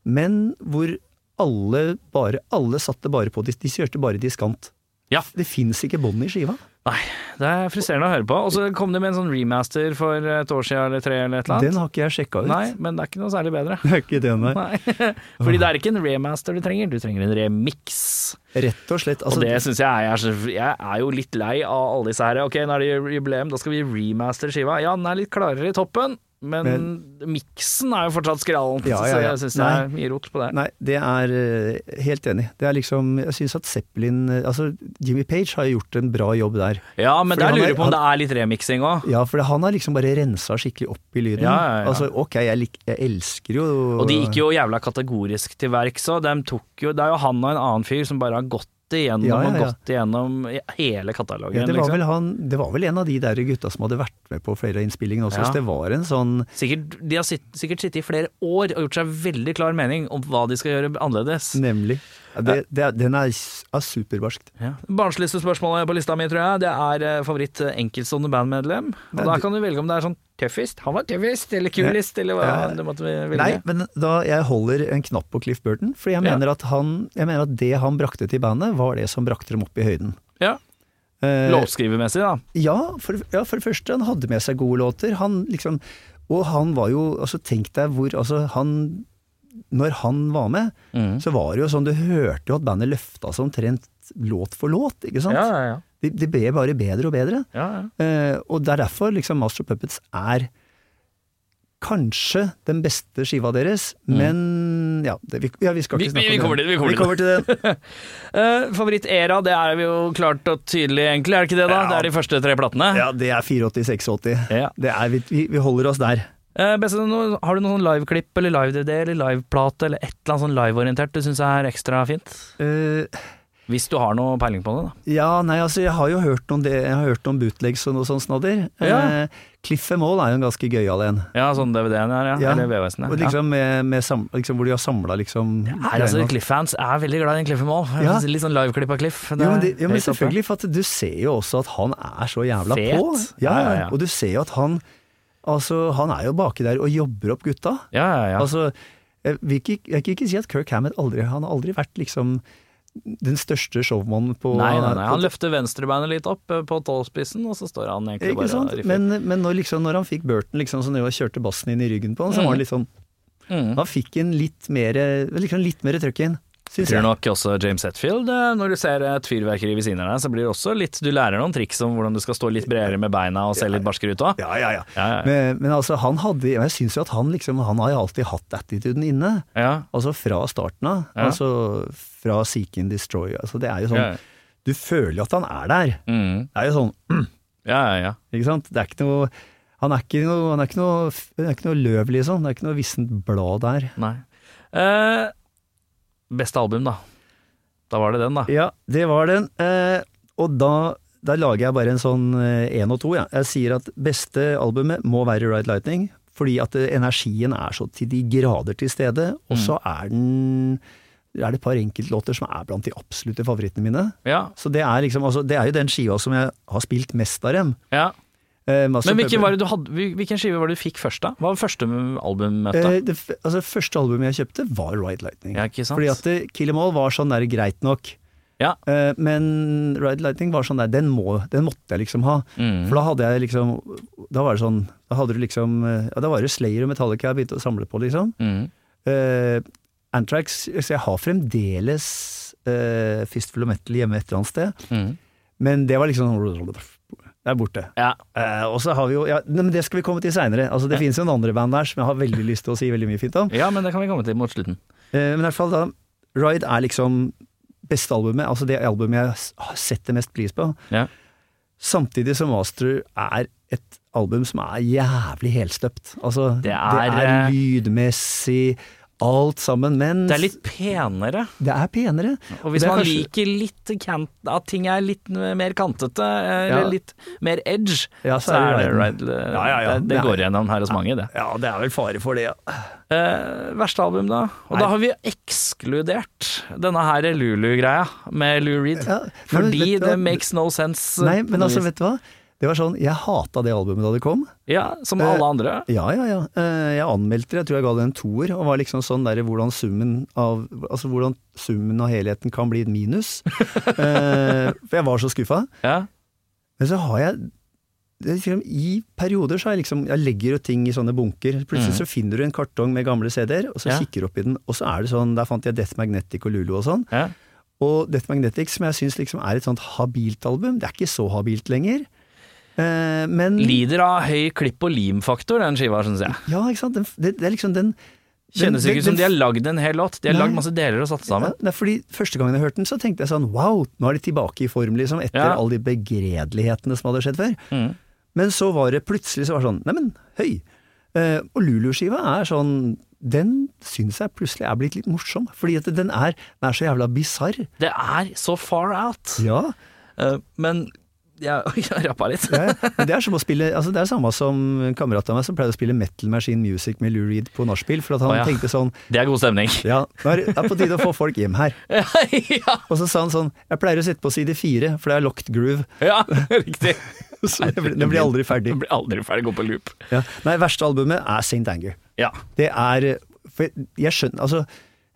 [SPEAKER 2] men hvor alle bare, alle satte bare på, de, de kjørte bare diskant.
[SPEAKER 1] Ja.
[SPEAKER 2] Det fins ikke bånd i skiva.
[SPEAKER 1] Nei, det er frustrerende å høre på. Og så kom de med en sånn remaster for et år siden eller tre eller et eller
[SPEAKER 2] Den
[SPEAKER 1] annet.
[SPEAKER 2] har ikke jeg sjekka ut.
[SPEAKER 1] Nei, men det er ikke noe særlig bedre.
[SPEAKER 2] Det er ikke det, nei.
[SPEAKER 1] Nei. Fordi det er ikke en remaster du trenger, du trenger en remix.
[SPEAKER 2] Rett og slett.
[SPEAKER 1] Og
[SPEAKER 2] Altså,
[SPEAKER 1] det syns jeg er- jeg er så- Jeg er jo litt lei av alle disse her. Ok, nå er det jubileum, da skal vi remaster skiva. Ja, den er litt klarere i toppen. Men, miksen er jo fortsatt skrallen,
[SPEAKER 2] Ja, ja, ja.
[SPEAKER 1] så jeg syns det er mye rot på det.
[SPEAKER 2] Nei, det er eh, helt enig. Det er liksom, jeg syns at Zeppelin eh, Altså, Jimmy Page har gjort en bra jobb der.
[SPEAKER 1] Ja, men
[SPEAKER 2] Fordi
[SPEAKER 1] der
[SPEAKER 2] han
[SPEAKER 1] lurer
[SPEAKER 2] er-
[SPEAKER 1] jeg på om
[SPEAKER 2] han-
[SPEAKER 1] det er litt remiksing òg.
[SPEAKER 2] Ja, for han har liksom bare rensa skikkelig opp i lyden.
[SPEAKER 1] Ja, ja, ja.
[SPEAKER 2] Altså, ok, jeg, lik, jeg elsker jo
[SPEAKER 1] Og de gikk jo jævla kategorisk til verks òg. Det er jo han og en annen fyr som bare har gått igjennom
[SPEAKER 2] Ja, ja,
[SPEAKER 1] og
[SPEAKER 2] ja.
[SPEAKER 1] gått igjennom hele katalogen.
[SPEAKER 2] ja, det, var
[SPEAKER 1] liksom.
[SPEAKER 2] vel han, det var vel en av de der gutta som hadde vært med på flere av innspillingene også,
[SPEAKER 1] Ja.
[SPEAKER 2] så det var en sånn
[SPEAKER 1] sikkert, de har sitt, sikkert sittet i flere år og gjort seg veldig klar mening om hva de skal gjøre annerledes.
[SPEAKER 2] Nemlig. Ja, Det, det, er- den er, s- er superbarskt.
[SPEAKER 1] Ja. Barnsligste spørsmålet på lista mi, tror jeg, det er eh, favoritt eh, enkeltstående bandmedlem. Og
[SPEAKER 2] Nei,
[SPEAKER 1] da
[SPEAKER 2] du-
[SPEAKER 1] kan du velge om det er sånn tøffest, han var tøffest, eller kulest, eller hva
[SPEAKER 2] Ja.
[SPEAKER 1] du måtte velge.
[SPEAKER 2] Nei, men da jeg holder en knapp på Cliff Burton, fordi jeg
[SPEAKER 1] Ja.
[SPEAKER 2] mener, at han, jeg mener at det han brakte til bandet, var det som brakte dem opp i høyden.
[SPEAKER 1] Ja.
[SPEAKER 2] Eh,
[SPEAKER 1] Låtskrivermessig, da.
[SPEAKER 2] Ja for, ja, for det første, han hadde med seg gode låter. Han liksom, og han var jo altså Tenk deg hvor altså, han Når han var med,
[SPEAKER 1] Mm.
[SPEAKER 2] så var det jo sånn Du hørte jo at bandet løfta seg omtrent låt for låt, ikke sant?
[SPEAKER 1] Ja, ja, ja.
[SPEAKER 2] Det, det ble bare bedre og bedre.
[SPEAKER 1] ja, ja.
[SPEAKER 2] Eh, og det er derfor liksom Master of Puppets er kanskje den beste skiva deres, men ja, det, vi, ja, vi skal
[SPEAKER 1] Mm. Vi-
[SPEAKER 2] ikke snakke
[SPEAKER 1] vi
[SPEAKER 2] om
[SPEAKER 1] kommer
[SPEAKER 2] det.
[SPEAKER 1] dit, vi kommer dit.
[SPEAKER 2] til det.
[SPEAKER 1] Eh, favoritt-era, det er vi jo klart og tydelig, egentlig. Er det ikke det, da?
[SPEAKER 2] Ja.
[SPEAKER 1] Det er de første tre platene.
[SPEAKER 2] Ja, det er 84-86.
[SPEAKER 1] Ja.
[SPEAKER 2] Det er- Vi, vi, vi holder oss der.
[SPEAKER 1] Eh, beste, nå- har du noen sånn liveklipp eller live-DVD eller liveplate eller et eller annet sånn liveorientert du syns er ekstra fint?
[SPEAKER 2] Eh,
[SPEAKER 1] Hvis du har noe peiling på det, da.
[SPEAKER 2] Ja, nei, altså jeg har jo hørt noen, det, jeg har hørt noen bootlegs og noe sånt snadder.
[SPEAKER 1] Ja.
[SPEAKER 2] Eh, Cliff Maul er jo en ganske gøyal en.
[SPEAKER 1] Ja, sånn DVD-en her, ja.
[SPEAKER 2] Ja.
[SPEAKER 1] Eller VHS-en.
[SPEAKER 2] Og
[SPEAKER 1] Ja.
[SPEAKER 2] Liksom, med, med sam, liksom hvor de har samla liksom
[SPEAKER 1] Nei, altså
[SPEAKER 2] greiene.
[SPEAKER 1] Cliff-fans er veldig glad i en Cliff-mål.
[SPEAKER 2] Ja.
[SPEAKER 1] Litt sånn liveklipp av Cliff. Det
[SPEAKER 2] jo, men,
[SPEAKER 1] er
[SPEAKER 2] det, ja, men
[SPEAKER 1] helt topp,
[SPEAKER 2] selvfølgelig, for at du ser jo også at han er så jævla
[SPEAKER 1] Fet.
[SPEAKER 2] på. Ja,
[SPEAKER 1] Ja, ja, ja.
[SPEAKER 2] Og du ser jo at han Altså, han er jo baki der og jobber opp gutta.
[SPEAKER 1] Ja, ja, ja.
[SPEAKER 2] Altså, jeg, vil ikke, jeg kan ikke si at Kirk Hammett aldri Han har aldri vært liksom den største showmannen på
[SPEAKER 1] nei, nei, nei.
[SPEAKER 2] på-
[SPEAKER 1] Han løfter venstrebeinet litt opp eh, på tåspissen, og så står han egentlig
[SPEAKER 2] Ikke
[SPEAKER 1] bare
[SPEAKER 2] sant?
[SPEAKER 1] og riffer.
[SPEAKER 2] Men, men når, liksom, når han fikk Burton liksom, som drev og kjørte bassen inn i ryggen på han, så
[SPEAKER 1] Mm.
[SPEAKER 2] var han litt sånn
[SPEAKER 1] Mm.
[SPEAKER 2] Da fikk han litt mer liksom litt mer trøkk inn,
[SPEAKER 1] Jeg
[SPEAKER 2] syns
[SPEAKER 1] tror
[SPEAKER 2] jeg.
[SPEAKER 1] nok også James Hetfield, eh, når du ser et fyrverkeri ved siden av deg, så blir det også litt Du lærer noen triks om hvordan du skal stå litt bredere med beina og se litt barskere ut òg.
[SPEAKER 2] Ja, ja, ja.
[SPEAKER 1] Ja, ja,
[SPEAKER 2] Men, men altså, han hadde Jeg syns jo at han liksom Han har jo alltid hatt attituden inne.
[SPEAKER 1] ja.
[SPEAKER 2] Altså fra starten av.
[SPEAKER 1] Ja.
[SPEAKER 2] Altså fra Seek and Destroy. Altså, det er jo sånn
[SPEAKER 1] Ja, ja.
[SPEAKER 2] Du føler jo at han er der.
[SPEAKER 1] Mm.
[SPEAKER 2] Det er jo sånn,
[SPEAKER 1] ja, ja, ja.
[SPEAKER 2] ikke sant. Det er ikke noe han er ikke noe, han er ikke noe, det er ikke noe løv, liksom. Det er ikke noe vissent blad der.
[SPEAKER 1] Nei. Eh, beste album, da. Da var det den, da.
[SPEAKER 2] Ja, det var den. Eh, og da, da lager jeg bare en sånn én og to. Ja. Jeg sier at beste albumet må være Right Lightning, fordi at eh, energien er så til de grader til stede. Og så
[SPEAKER 1] Mm.
[SPEAKER 2] er den er det et par enkeltlåter som er blant de absolutte favorittene mine.
[SPEAKER 1] Ja.
[SPEAKER 2] Så det er liksom, altså, det er jo den skiva som jeg har spilt mest av dem.
[SPEAKER 1] ja.
[SPEAKER 2] Eh, Master
[SPEAKER 1] Men hvilken,
[SPEAKER 2] of Puppets.
[SPEAKER 1] var det du hadde, hvil- hvilken skive var det du fikk først, da? Hva var første albummøte?
[SPEAKER 2] Eh, det f- altså, første albumet jeg kjøpte, var Right Lightning.
[SPEAKER 1] ja, ikke sant?
[SPEAKER 2] Fordi at eh, Kill Em All var sånn der greit nok.
[SPEAKER 1] Ja.
[SPEAKER 2] Eh, men Ride Lightning var sånn der, den, må, den måtte jeg liksom ha.
[SPEAKER 1] Mm.
[SPEAKER 2] For da hadde jeg liksom Da var det sånn Da hadde du liksom eh, Ja, da var det Slayer og Metallica jeg begynte å samle på, liksom.
[SPEAKER 1] Mm.
[SPEAKER 2] Eh, Antrax Så jeg har fremdeles eh, Fistful of Metal hjemme et eller annet sted,
[SPEAKER 1] Mm.
[SPEAKER 2] men det var liksom sånn Det er borte.
[SPEAKER 1] Ja.
[SPEAKER 2] Eh, og så har vi jo ja, nei, Men det skal vi komme til seinere. Altså, det finnes jo en andre band der som jeg har veldig lyst til å si veldig mye fint om.
[SPEAKER 1] ja, men det kan vi komme til mot slutten.
[SPEAKER 2] Eh, Men i hvert fall da, Ride er liksom beste albumet, altså det albumet jeg s- har sett det mest pris på.
[SPEAKER 1] Ja.
[SPEAKER 2] Samtidig som Master er et album som er jævlig helstøpt. Altså,
[SPEAKER 1] Det er, eh,
[SPEAKER 2] lydmessig, alt sammen, men
[SPEAKER 1] Det er litt penere.
[SPEAKER 2] det er penere.
[SPEAKER 1] Og hvis
[SPEAKER 2] Det er
[SPEAKER 1] man
[SPEAKER 2] kanskje-
[SPEAKER 1] liker litt kant, at ting er litt mer kantete, eh, eller
[SPEAKER 2] Ja.
[SPEAKER 1] litt mer edge,
[SPEAKER 2] Ja,
[SPEAKER 1] så er det right. eh,
[SPEAKER 2] Ja, ja, ja.
[SPEAKER 1] Det,
[SPEAKER 2] Det
[SPEAKER 1] det
[SPEAKER 2] er-
[SPEAKER 1] går gjennom her hos mange, det.
[SPEAKER 2] Ja, det er vel fare for det, ja.
[SPEAKER 1] Eh, verste album, da? Og
[SPEAKER 2] Nei.
[SPEAKER 1] da har vi ekskludert denne her Lulu-greia med Lou Reed.
[SPEAKER 2] Ja, men
[SPEAKER 1] fordi
[SPEAKER 2] vet du hva?
[SPEAKER 1] det makes no sense. eh,
[SPEAKER 2] Nei,
[SPEAKER 1] på
[SPEAKER 2] men
[SPEAKER 1] noe
[SPEAKER 2] altså,
[SPEAKER 1] vis.
[SPEAKER 2] vet du hva? Det var sånn, jeg hata det albumet da det kom.
[SPEAKER 1] Ja, Som
[SPEAKER 2] Eh.
[SPEAKER 1] alle andre.
[SPEAKER 2] Ja, ja, ja. Eh, Jeg anmeldte det, jeg tror jeg ga det en toer, og var liksom sånn der hvordan summen av, altså hvordan summen av helheten kan bli et minus. Eh, For jeg var så skuffa.
[SPEAKER 1] Ja.
[SPEAKER 2] Men så har jeg det er liksom, I perioder så har jeg liksom Jeg legger jo ting i sånne bunker. Plutselig så finner du en kartong med gamle CD-er, og
[SPEAKER 1] Mm.
[SPEAKER 2] så
[SPEAKER 1] Ja.
[SPEAKER 2] kikker du opp i den, og så er det sånn Der fant jeg Death Magnetic og Lulu og sånn.
[SPEAKER 1] ja.
[SPEAKER 2] Og Death Magnetic, som jeg syns liksom er et sånt habilt album, det er ikke så habilt lenger. Eh, men
[SPEAKER 1] Lider av høy klipp og lim-faktor, den skiva, syns jeg.
[SPEAKER 2] Ja, ikke sant. Den, det, det er liksom den den-
[SPEAKER 1] Kjennes
[SPEAKER 2] den-
[SPEAKER 1] ikke ut som
[SPEAKER 2] den-
[SPEAKER 1] de har lagd en hel låt. De har
[SPEAKER 2] Nei.
[SPEAKER 1] lagd masse deler og satt sammen.
[SPEAKER 2] Ja, det er fordi Første gangen jeg hørte den, så tenkte jeg sånn wow, nå er de tilbake i form, liksom, etter
[SPEAKER 1] Ja.
[SPEAKER 2] alle de begredelighetene som hadde skjedd før.
[SPEAKER 1] Mm.
[SPEAKER 2] Men så var det plutselig så var det sånn neimen, høy. Eh, og Lulu-skiva er sånn Den syns jeg plutselig er blitt litt morsom, fordi at den er, den er så jævla bisarr.
[SPEAKER 1] Det er så far out.
[SPEAKER 2] Ja.
[SPEAKER 1] Eh, men jeg, jeg rappa litt.
[SPEAKER 2] Det er, det er som å spille altså Det er samme som en kamerat av meg som pleide å spille Metal Machine Music med Lou Reed på nachspiel, for at han
[SPEAKER 1] Å, ja.
[SPEAKER 2] tenkte sånn
[SPEAKER 1] Det er god stemning.
[SPEAKER 2] Ja, nå er det er på tide å få folk hjem her.
[SPEAKER 1] ja,
[SPEAKER 2] Og så sa han sånn Jeg pleier å sitte på side fire, for det er locked groove.
[SPEAKER 1] ja, riktig.
[SPEAKER 2] Så det blir, det blir aldri ferdig.
[SPEAKER 1] Den blir aldri ferdig, gå på loop.
[SPEAKER 2] Ja. Nei, verste albumet er St. Anger.
[SPEAKER 1] Ja.
[SPEAKER 2] Det er For jeg, jeg skjønner Altså,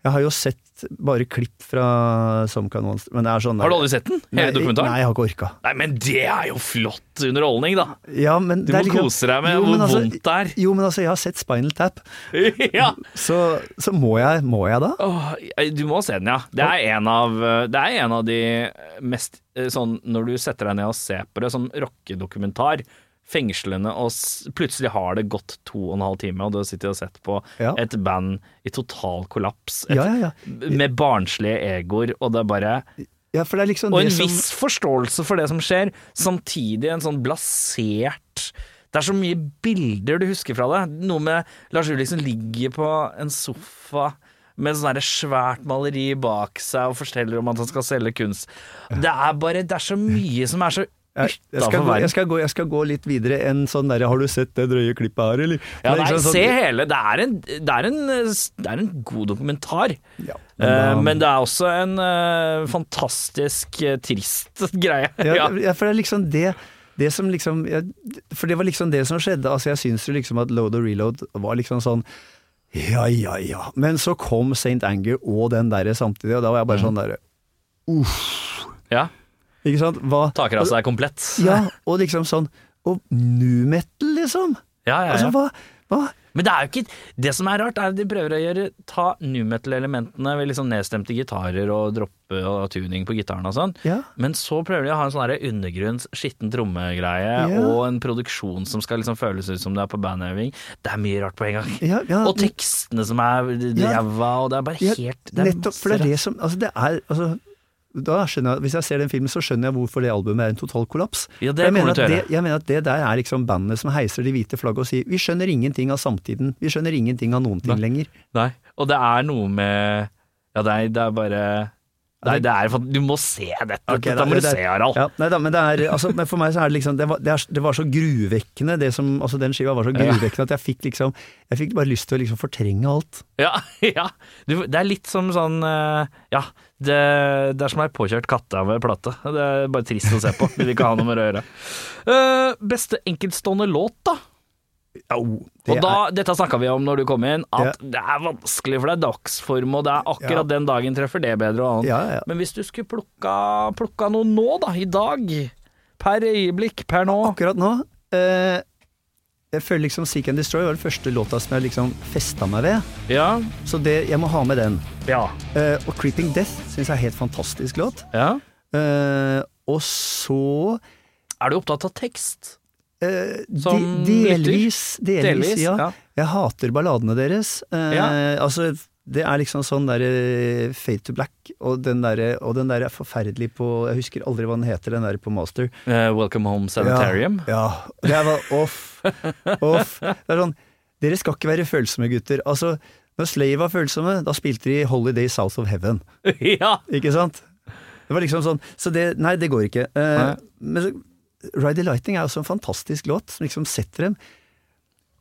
[SPEAKER 2] jeg har jo sett bare klipp fra Some Kind of Monster, men det er sånn
[SPEAKER 1] Har du aldri sett den? Hele
[SPEAKER 2] Nei,
[SPEAKER 1] dokumentaren?
[SPEAKER 2] Nei, jeg har ikke orka.
[SPEAKER 1] Nei, men det er jo flott underholdning, da.
[SPEAKER 2] Ja, men
[SPEAKER 1] Du
[SPEAKER 2] det er
[SPEAKER 1] må
[SPEAKER 2] liksom-
[SPEAKER 1] kose deg med
[SPEAKER 2] Jo,
[SPEAKER 1] hvor
[SPEAKER 2] men altså-
[SPEAKER 1] vondt det er.
[SPEAKER 2] Jo, men altså, jeg har sett Spinal Tap,
[SPEAKER 1] ja.
[SPEAKER 2] så, så må, jeg, må jeg da?
[SPEAKER 1] Åh, eh, du må se den, ja. Det er en av, eh, det er en av de mest eh, sånn Når du setter deg ned og ser på det, sånn rockedokumentar, fengslende, og s- plutselig har det gått to og en halv time, og du har sittet og sett på
[SPEAKER 2] Ja.
[SPEAKER 1] et band i total kollaps, et,
[SPEAKER 2] Ja, ja, ja.
[SPEAKER 1] med barnslige egoer, og det er bare
[SPEAKER 2] Ja, for det er liksom
[SPEAKER 1] Og en
[SPEAKER 2] det som
[SPEAKER 1] viss forståelse for det som skjer, samtidig en sånn blasert Det er så mye bilder du husker fra det. Noe med Lars Ulriksen ligger på en sofa med sånn der svært maleri bak seg og forteller om at han skal selge kunst. Det er bare Det er så mye som er så
[SPEAKER 2] jeg, jeg, skal
[SPEAKER 1] utafor
[SPEAKER 2] gå, jeg,
[SPEAKER 1] verden.
[SPEAKER 2] skal gå, jeg skal gå litt videre enn sånn derre 'har du sett det drøye klippet her', eller?
[SPEAKER 1] Ja,
[SPEAKER 2] Det er
[SPEAKER 1] nei,
[SPEAKER 2] liksom sånn-
[SPEAKER 1] se hele. Det er en, det er en, det er en god dokumentar.
[SPEAKER 2] Ja, men um,
[SPEAKER 1] Men,
[SPEAKER 2] da-
[SPEAKER 1] men det er også en eh, fantastisk eh, trist greie.
[SPEAKER 2] ja, ja, for det er liksom det det som liksom, jeg- for det var liksom det som skjedde. Altså Jeg syns jo liksom at load og reload var liksom sånn Ja, ja, ja. Men så kom St. Anger og den derre samtidig, og da var jeg bare
[SPEAKER 1] Mm.
[SPEAKER 2] sånn derre
[SPEAKER 1] ja.
[SPEAKER 2] Ikke sant? Hva
[SPEAKER 1] Taker av seg komplett.
[SPEAKER 2] Ja, og liksom sånn Og nu metal, liksom!
[SPEAKER 1] Ja, ja,
[SPEAKER 2] Altså,
[SPEAKER 1] ja.
[SPEAKER 2] hva, hva?
[SPEAKER 1] Men det er jo ikke Det som er rart, er at de prøver å gjøre ta nu metal-elementene ved liksom nedstemte gitarer og droppe og tuning på gitaren og sånn.
[SPEAKER 2] Ja.
[SPEAKER 1] Men så prøver de å ha en sånn her undergrunns skitten trommegreie
[SPEAKER 2] Ja.
[SPEAKER 1] og en produksjon som skal liksom føles ut som det er på bandøving. Det er mye rart på en gang.
[SPEAKER 2] Ja, ja,
[SPEAKER 1] og tekstene som er
[SPEAKER 2] Ja.
[SPEAKER 1] ræva, og det er bare
[SPEAKER 2] Ja,
[SPEAKER 1] helt det er
[SPEAKER 2] nettopp, for det er det som altså det er, altså, da skjønner jeg, Hvis jeg ser den filmen, så skjønner jeg hvorfor det albumet er en total kollaps.
[SPEAKER 1] Ja, det
[SPEAKER 2] For
[SPEAKER 1] kommer
[SPEAKER 2] jeg,
[SPEAKER 1] du
[SPEAKER 2] mener
[SPEAKER 1] til å
[SPEAKER 2] at det, jeg mener at det der er liksom bandene som heiser de hvite flagget og sier 'vi skjønner ingenting av samtiden', 'vi skjønner ingenting av noen ting lenger'.
[SPEAKER 1] Nei. Og det er noe med Ja, det er, det er bare Nei, det er fant- Du må se dette.
[SPEAKER 2] Ok,
[SPEAKER 1] dette
[SPEAKER 2] da-
[SPEAKER 1] må du
[SPEAKER 2] det-
[SPEAKER 1] se, Harald.
[SPEAKER 2] Ja, nei da, men det er, altså, men for meg så er det liksom Det var, det er, det var så gruvekkende, det som, altså den skiva var så gruvekkende at jeg fikk liksom Jeg fikk bare lyst til å liksom fortrenge alt.
[SPEAKER 1] Ja, ja. Du, det er litt som sånn eh, Ja, det, det er som ei påkjørt kattehaue plate. Det er bare trist å se på. Vil ikke ha noe med det å gjøre. Eh, beste enkeltstående låt, da?
[SPEAKER 2] Au,
[SPEAKER 1] Og
[SPEAKER 2] det
[SPEAKER 1] da,
[SPEAKER 2] er-
[SPEAKER 1] Dette snakka vi om når du kom inn, at det er vanskelig, for det er dagsform, og det er akkurat
[SPEAKER 2] Ja.
[SPEAKER 1] den dagen treffer det bedre og annet.
[SPEAKER 2] ja, ja, ja.
[SPEAKER 1] Men hvis du skulle plukka, plukka noe nå, da, i dag, per øyeblikk, per nå
[SPEAKER 2] akkurat nå eh, Jeg føler liksom Seek and Destroy var den første låta som jeg liksom festa meg ved.
[SPEAKER 1] Ja,
[SPEAKER 2] Så det, jeg må ha med den.
[SPEAKER 1] ja,
[SPEAKER 2] Eh, og Creeping Death syns jeg er helt fantastisk låt.
[SPEAKER 1] ja.
[SPEAKER 2] Eh, og så
[SPEAKER 1] Er du opptatt av tekst?
[SPEAKER 2] eh,
[SPEAKER 1] Som
[SPEAKER 2] de, delvis, delvis,
[SPEAKER 1] Delvis,
[SPEAKER 2] ja.
[SPEAKER 1] ja.
[SPEAKER 2] Jeg hater balladene deres. Eh,
[SPEAKER 1] Ja.
[SPEAKER 2] Altså, det er liksom sånn derre Fade to Black, og den derre der er forferdelig på Jeg husker aldri hva den heter, den der på Master.
[SPEAKER 1] Eh, welcome Home Sanitarium?
[SPEAKER 2] Ja. ja. Det var off. off. Det er sånn Dere skal ikke være følsomme, gutter. Altså, når Slave var følsomme, da spilte de Holiday South of Heaven.
[SPEAKER 1] ja.
[SPEAKER 2] Ikke sant? Det var liksom sånn Så det Nei, det går ikke. Eh,
[SPEAKER 1] Nei.
[SPEAKER 2] men så, Ride the Lightning er også en fantastisk låt, som liksom setter dem.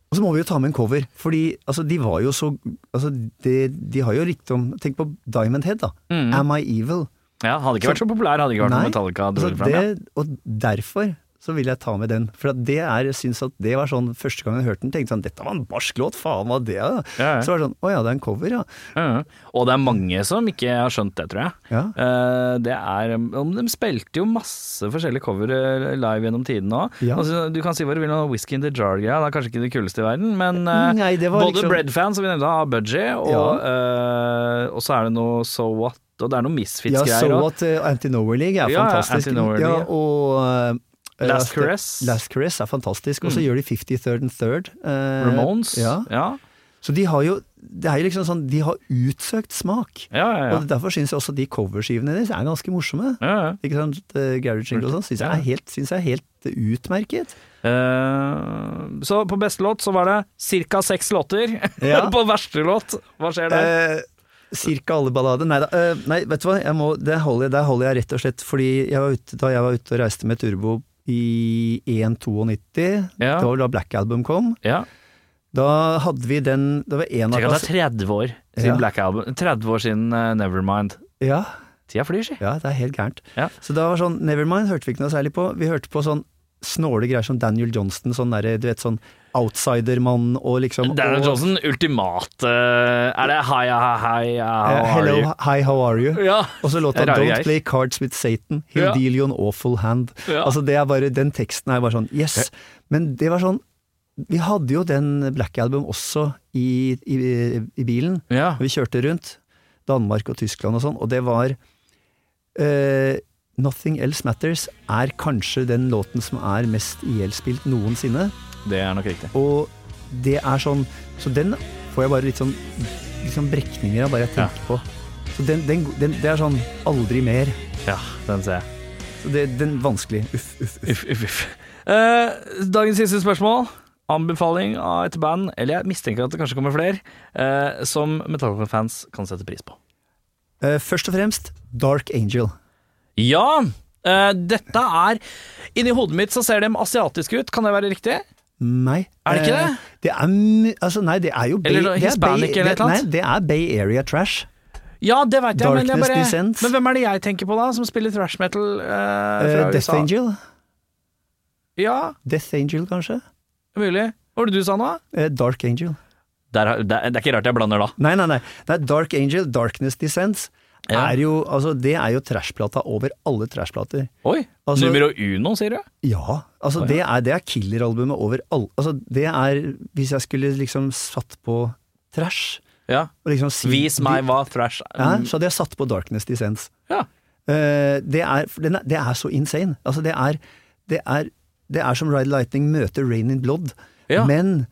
[SPEAKER 2] Og så må vi jo ta med en cover, fordi altså, de var jo så Altså, det, de har jo rikdom Tenk på Diamond Head, da. Am I Evil?
[SPEAKER 1] Ja, hadde ikke vært så populær, hadde Mm. ikke vært noe Metallica dro
[SPEAKER 2] altså,
[SPEAKER 1] det fram. ja.
[SPEAKER 2] det, og derfor så vil jeg ta med den. For at det er, jeg syns at det var sånn Første gang jeg hørte den, tenkte jeg sånn Dette var en barsk låt, faen hva det er. da?»
[SPEAKER 1] Ja, ja.
[SPEAKER 2] Så var det sånn Å ja, det er en cover, ja.
[SPEAKER 1] Ja, ja. Og det er mange som ikke har skjønt det, tror jeg.
[SPEAKER 2] Ja.
[SPEAKER 1] Eh, det er, om de spilte jo masse forskjellige cover eh, live gjennom tiden òg.
[SPEAKER 2] Ja.
[SPEAKER 1] Altså, du kan si hva du vil om Whisky in the Jar-greia, det er kanskje ikke det kuleste i verden, men eh,
[SPEAKER 2] Nei, det var
[SPEAKER 1] både
[SPEAKER 2] liksom-
[SPEAKER 1] Bread-fans, som vi nevnte, har Budgie, og,
[SPEAKER 2] Ja.
[SPEAKER 1] eh, og så er det noe So What, og det er noe
[SPEAKER 2] Ja,
[SPEAKER 1] Misfits-greier.
[SPEAKER 2] So
[SPEAKER 1] også.
[SPEAKER 2] What eh, Anti-Nowhere League er
[SPEAKER 1] Ja, ja,
[SPEAKER 2] fantastisk.
[SPEAKER 1] Anti-Nowhere
[SPEAKER 2] ja,
[SPEAKER 1] League.
[SPEAKER 2] og eh, Eh,
[SPEAKER 1] Last
[SPEAKER 2] Last-
[SPEAKER 1] Caress.
[SPEAKER 2] Last Caress er fantastisk. Og så gjør de 53rd and 3rd. eh,
[SPEAKER 1] Ramones.
[SPEAKER 2] Ja.
[SPEAKER 1] ja.
[SPEAKER 2] Så de har jo det er jo liksom sånn, de har utsøkt smak.
[SPEAKER 1] ja, ja, ja.
[SPEAKER 2] Og Derfor syns jeg også de coverskivene deres er ganske morsomme.
[SPEAKER 1] ja, ja.
[SPEAKER 2] Ikke sant? Eh, Garage Jingle og sånn syns jeg, er helt- synes jeg er helt utmerket.
[SPEAKER 1] Eh, så på beste låt så var det ca. seks låter.
[SPEAKER 2] Ja.
[SPEAKER 1] på verste låt, hva skjer der?
[SPEAKER 2] Eh, cirka alle ballader. Nei da. eh, nei, vet du hva. Jeg må, det holder, jeg- der holder jeg rett og slett fordi jeg var ute, da jeg var ute og reiste med Turbo i 1.92,
[SPEAKER 1] Ja.
[SPEAKER 2] det var vel da Black Album kom,
[SPEAKER 1] ja.
[SPEAKER 2] da hadde vi den Det var en av
[SPEAKER 1] Tenk at det
[SPEAKER 2] kass-
[SPEAKER 1] er 30 år siden
[SPEAKER 2] Ja.
[SPEAKER 1] Black Album. 30 år siden eh, Nevermind.
[SPEAKER 2] ja,
[SPEAKER 1] Tida flyr, si.
[SPEAKER 2] ja, det er helt gærent.
[SPEAKER 1] Ja.
[SPEAKER 2] Så da var sånn Nevermind hørte vi ikke noe særlig på. Vi hørte på sånn snåle greier som Daniel Johnston, sånn derre, du vet sånn outsidermann og liksom
[SPEAKER 1] Daniel
[SPEAKER 2] og,
[SPEAKER 1] Johnson, ultimate eh, Er det hi, hi, hi, how
[SPEAKER 2] Eh,
[SPEAKER 1] are
[SPEAKER 2] Hello,
[SPEAKER 1] you?
[SPEAKER 2] hi, how are you?
[SPEAKER 1] Ja.
[SPEAKER 2] Og så låta
[SPEAKER 1] Rare
[SPEAKER 2] 'Don't
[SPEAKER 1] greier.
[SPEAKER 2] Play Cards With Satan', 'He'll
[SPEAKER 1] Ja.
[SPEAKER 2] Deal You An Awful Hand'.
[SPEAKER 1] Ja.
[SPEAKER 2] Altså det er bare, Den teksten er bare sånn yes. Men det var sånn Vi hadde jo den Black Album også i, i, i bilen.
[SPEAKER 1] ja.
[SPEAKER 2] Vi kjørte rundt Danmark og Tyskland og sånn, og det var eh, 'Nothing Else Matters' er kanskje den låten som er mest ihjelspilt noensinne.
[SPEAKER 1] Det er nok riktig.
[SPEAKER 2] Og det er sånn Så den får jeg bare litt sånn, litt sånn brekninger av bare jeg tenker på. Så den, den, den, det er sånn aldri mer.
[SPEAKER 1] Ja, den ser jeg.
[SPEAKER 2] Så det, den vanskelig. Uff, uff,
[SPEAKER 1] Uff,
[SPEAKER 2] uff.
[SPEAKER 1] uff, uff. Eh, dagens siste spørsmål. Anbefaling av et band, eller jeg mistenker at det kanskje kommer flere, eh, som Metallica-fans kan sette pris på.
[SPEAKER 2] Eh, først og fremst Dark Angel.
[SPEAKER 1] Ja, eh, dette er Inni hodet mitt så ser de asiatiske ut, kan det være riktig?
[SPEAKER 2] Nei.
[SPEAKER 1] Er det ikke
[SPEAKER 2] Eh,
[SPEAKER 1] det?
[SPEAKER 2] det er, m- altså, nei, det er jo
[SPEAKER 1] Eller noe
[SPEAKER 2] det er
[SPEAKER 1] Hispanic eller et eller
[SPEAKER 2] nei,
[SPEAKER 1] annet?
[SPEAKER 2] det er Bay Area Trash.
[SPEAKER 1] Ja, det veit jeg, men jeg
[SPEAKER 2] Darkness
[SPEAKER 1] bare
[SPEAKER 2] Descends.
[SPEAKER 1] Men hvem er det jeg tenker på da, som spiller thrash metal eh, fra
[SPEAKER 2] Eh, Death
[SPEAKER 1] USA?
[SPEAKER 2] Angel.
[SPEAKER 1] Ja,
[SPEAKER 2] Death Angel, kanskje.
[SPEAKER 1] mulig. Hva var det du sa nå?
[SPEAKER 2] Eh, Dark Angel.
[SPEAKER 1] det er ikke rart jeg blander da.
[SPEAKER 2] Nei, nei, nei. nei Dark Angel, Darkness Descends,
[SPEAKER 1] Ja.
[SPEAKER 2] er jo, altså, det er jo trashplata over alle trashplater.
[SPEAKER 1] Oi.
[SPEAKER 2] Altså-
[SPEAKER 1] numero uno, sier du?
[SPEAKER 2] Ja,
[SPEAKER 1] Å,
[SPEAKER 2] altså
[SPEAKER 1] ja.
[SPEAKER 2] Det, er, det er killer-albumet over alle altså, Det er Hvis jeg skulle liksom satt på trash
[SPEAKER 1] Ja.
[SPEAKER 2] og liksom si,
[SPEAKER 1] Vis meg hva thrash
[SPEAKER 2] ja,
[SPEAKER 1] er.
[SPEAKER 2] Så hadde jeg satt på Darkness Descends.
[SPEAKER 1] Ja.
[SPEAKER 2] Eh, det, er, for den er, det er så insane. Altså det er, det er, det er som Ride Lightning møter Rain in Blood,
[SPEAKER 1] Ja.
[SPEAKER 2] men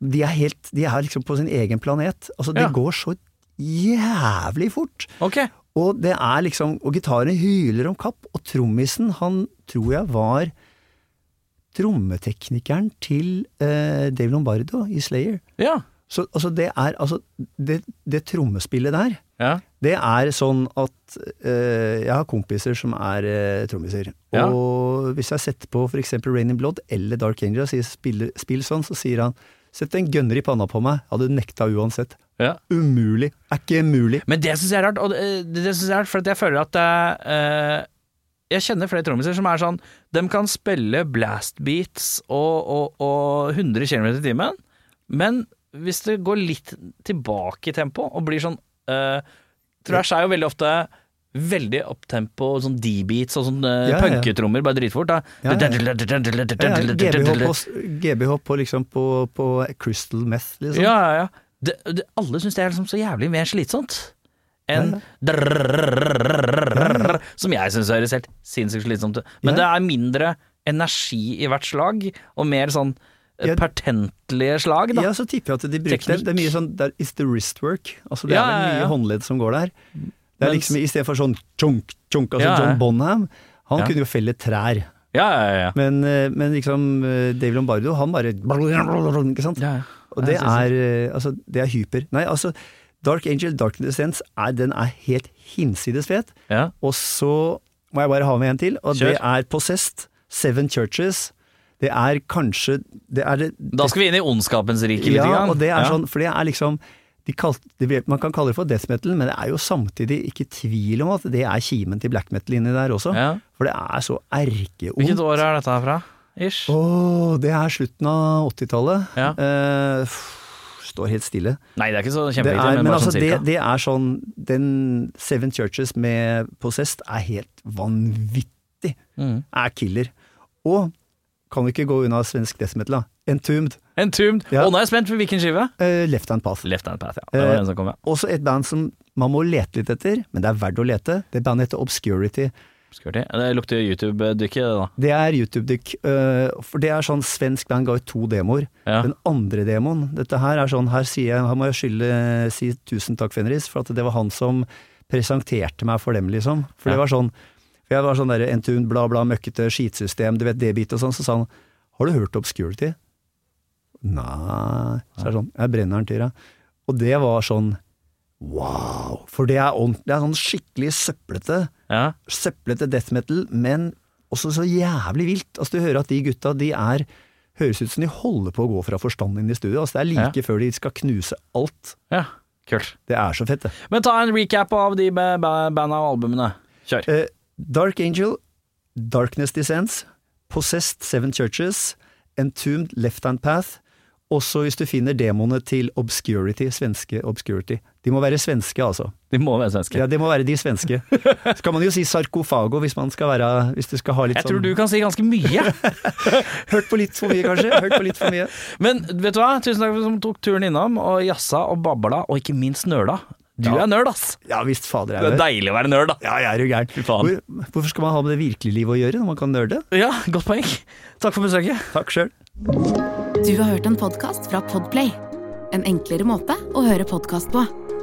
[SPEAKER 2] de er, helt, de er liksom på sin egen planet. Altså Det
[SPEAKER 1] Ja.
[SPEAKER 2] går så jævlig fort!
[SPEAKER 1] Ok.
[SPEAKER 2] Og det er liksom, og gitaren hyler om kapp, og trommisen, han tror jeg var trommeteknikeren til eh, Dave Lombardo i Slayer.
[SPEAKER 1] Ja.
[SPEAKER 2] Så altså, det er altså det, det trommespillet der,
[SPEAKER 1] ja.
[SPEAKER 2] det er sånn at eh, jeg har kompiser som er eh, trommiser.
[SPEAKER 1] Ja.
[SPEAKER 2] Og hvis jeg setter på for eksempel Rain in Blood eller Dark Angel og sier spill, spill sånn, så sier han sett en gunner i panna på meg. Jeg hadde nekta uansett.
[SPEAKER 1] ja.
[SPEAKER 2] Umulig. Er ikke mulig.
[SPEAKER 1] Men det syns jeg er rart, og det, eh, det synes jeg er rart, for at jeg føler at eh, Jeg kjenner flere trommiser som er sånn De kan spille blast beats og, og, og 100 km i timen, men hvis det går litt tilbake i tempo og blir sånn uh, Trash er jo veldig ofte Veldig opptempo, sånn D-beats og sånn eh,
[SPEAKER 2] Ja, ja, ja.
[SPEAKER 1] punketrommer, bare dritfort. Da.
[SPEAKER 2] Ja, ja, Ja, ja, GBH på, GBH på, liksom på, på crystal meth, liksom.
[SPEAKER 1] Ja, ja, ja. Det, det, alle syns det er liksom så jævlig mer slitsomt enn drrrrrrrrrrrrrrrrrrrrrrrrrrrrrrr, Som jeg syns høres helt sinnssykt slitsomt ut. Men
[SPEAKER 2] Ja.
[SPEAKER 1] det er mindre energi i hvert slag, og mer sånn eh,
[SPEAKER 2] Ja.
[SPEAKER 1] pertentlige slag, da.
[SPEAKER 2] Ja, så tipper jeg at de bruker det.
[SPEAKER 1] Teknikk.
[SPEAKER 2] Det er mye sånn det er, It's the wrist work. Altså det
[SPEAKER 1] Ja,
[SPEAKER 2] er vel
[SPEAKER 1] ja,
[SPEAKER 2] mye
[SPEAKER 1] ja.
[SPEAKER 2] håndledd som går der. Det er
[SPEAKER 1] Mens-
[SPEAKER 2] liksom i stedet for sånn tjonk, tjonk, altså
[SPEAKER 1] Ja, ja.
[SPEAKER 2] John Bonham, han
[SPEAKER 1] Ja.
[SPEAKER 2] kunne jo felle trær.
[SPEAKER 1] Ja, ja, ja.
[SPEAKER 2] Men, eh, men liksom eh, Dave Lombardo, han bare Ikke sant?
[SPEAKER 1] ja, ja.
[SPEAKER 2] Og det
[SPEAKER 1] Jeg synes
[SPEAKER 2] er, eh, altså, det er hyper. Nei, altså, Dark Angel, Dark Descents, er, den er helt hinsides fet.
[SPEAKER 1] ja.
[SPEAKER 2] Og så må jeg bare ha med en til, og
[SPEAKER 1] Kjør.
[SPEAKER 2] det er Possessed. Seven Churches. Det er kanskje Det er det
[SPEAKER 1] Da skal vi inn i ondskapens rike litt.
[SPEAKER 2] Ja,
[SPEAKER 1] grann.
[SPEAKER 2] og det er
[SPEAKER 1] Ja.
[SPEAKER 2] sånn, for det er liksom de kalt, det, blir- Man kan kalle det for death metal, men det er jo samtidig ikke tvil om at det er kimen til black metal inni der også.
[SPEAKER 1] Ja.
[SPEAKER 2] For det er så
[SPEAKER 1] Hvilket
[SPEAKER 2] erkeondt.
[SPEAKER 1] år er dette her fra? Ish.
[SPEAKER 2] Åh, det er slutten av 80-tallet.
[SPEAKER 1] Ja.
[SPEAKER 2] Eh, pff, står helt stille.
[SPEAKER 1] Nei, det er ikke så
[SPEAKER 2] Det
[SPEAKER 1] kjempeviktig,
[SPEAKER 2] er,
[SPEAKER 1] men,
[SPEAKER 2] men
[SPEAKER 1] bare
[SPEAKER 2] altså,
[SPEAKER 1] sånn cirka.
[SPEAKER 2] det, det er sånn Den Seven Churches med Possessed er helt vanvittig.
[SPEAKER 1] Mm.
[SPEAKER 2] Er killer. Og kan vi ikke gå unna svensk death metal, da. Entombed.
[SPEAKER 1] Entombed.
[SPEAKER 2] Ja.
[SPEAKER 1] Å, nå er jeg spent på hvilken skive.
[SPEAKER 2] eh, Left Hand Path.
[SPEAKER 1] Left Hand Path, ja. Det var
[SPEAKER 2] Eh,
[SPEAKER 1] den som kom, ja.
[SPEAKER 2] Også et band som man må lete litt etter, men det er verdt å lete. Det bandet heter Obscurity.
[SPEAKER 1] Skvørti. Det lukter YouTube-dykket, det da.
[SPEAKER 2] Det er YouTube-dykk. øh, For det er sånn svensk band ga ut to demoer.
[SPEAKER 1] Ja.
[SPEAKER 2] Den andre demoen Dette her er sånn, her, sier jeg, her må jeg skylde si tusen takk, Fenris, for at det var han som presenterte meg for dem, liksom. For
[SPEAKER 1] Ja.
[SPEAKER 2] det var sånn for Jeg var sånn derre Entune, bla, bla, møkkete skitsystem, du vet det bit og sånn. Så sa han Har du hørt Obscurity? Nei Så er det sånn Jeg brenner den til deg. Og det var sånn Wow! For det er, ordent- det er sånn skikkelig søplete
[SPEAKER 1] Ja.
[SPEAKER 2] søplete death metal, men også så jævlig vilt. Altså, du hører at de gutta, de er Høres ut som de holder på å gå fra forstanden inn i studio. Altså, det er like før de skal knuse alt.
[SPEAKER 1] ja. Kult.
[SPEAKER 2] Det er så fett, det.
[SPEAKER 1] Men ta en recap av de ba- ba- banda og albumene. Kjør.
[SPEAKER 2] Eh, Dark Angel, Darkness Descends, Possessed Seven Churches, Entombed Left Hand Path. Også hvis du finner demoene til Obscurity, svenske Obscurity. De må være svenske, altså.
[SPEAKER 1] De må være svenske.
[SPEAKER 2] Ja, det må være de svenske. Så kan man jo si sarkofago hvis man skal være Hvis du skal ha litt
[SPEAKER 1] Jeg tror
[SPEAKER 2] sånn
[SPEAKER 1] du kan si ganske mye.
[SPEAKER 2] Hørt på litt for mye, kanskje? Hørt på litt for mye.
[SPEAKER 1] Men vet du hva? Tusen takk for at du tok turen innom og jassa og babla, og ikke minst nøla. Du
[SPEAKER 2] Ja.
[SPEAKER 1] er nerd, ass!
[SPEAKER 2] Ja visst, fader
[SPEAKER 1] Det
[SPEAKER 2] er
[SPEAKER 1] er
[SPEAKER 2] det.
[SPEAKER 1] deilig å være nerd, da.
[SPEAKER 2] Ja, jeg er jo gæren.
[SPEAKER 1] faen.
[SPEAKER 2] Hvor, hvorfor skal man ha med det virkelige livet å gjøre når man kan nerde?
[SPEAKER 1] Ja, godt poeng. Takk for besøket.
[SPEAKER 2] Takk sjøl.
[SPEAKER 3] Du har hørt en podkast fra Podplay. En enklere måte å høre podkast på.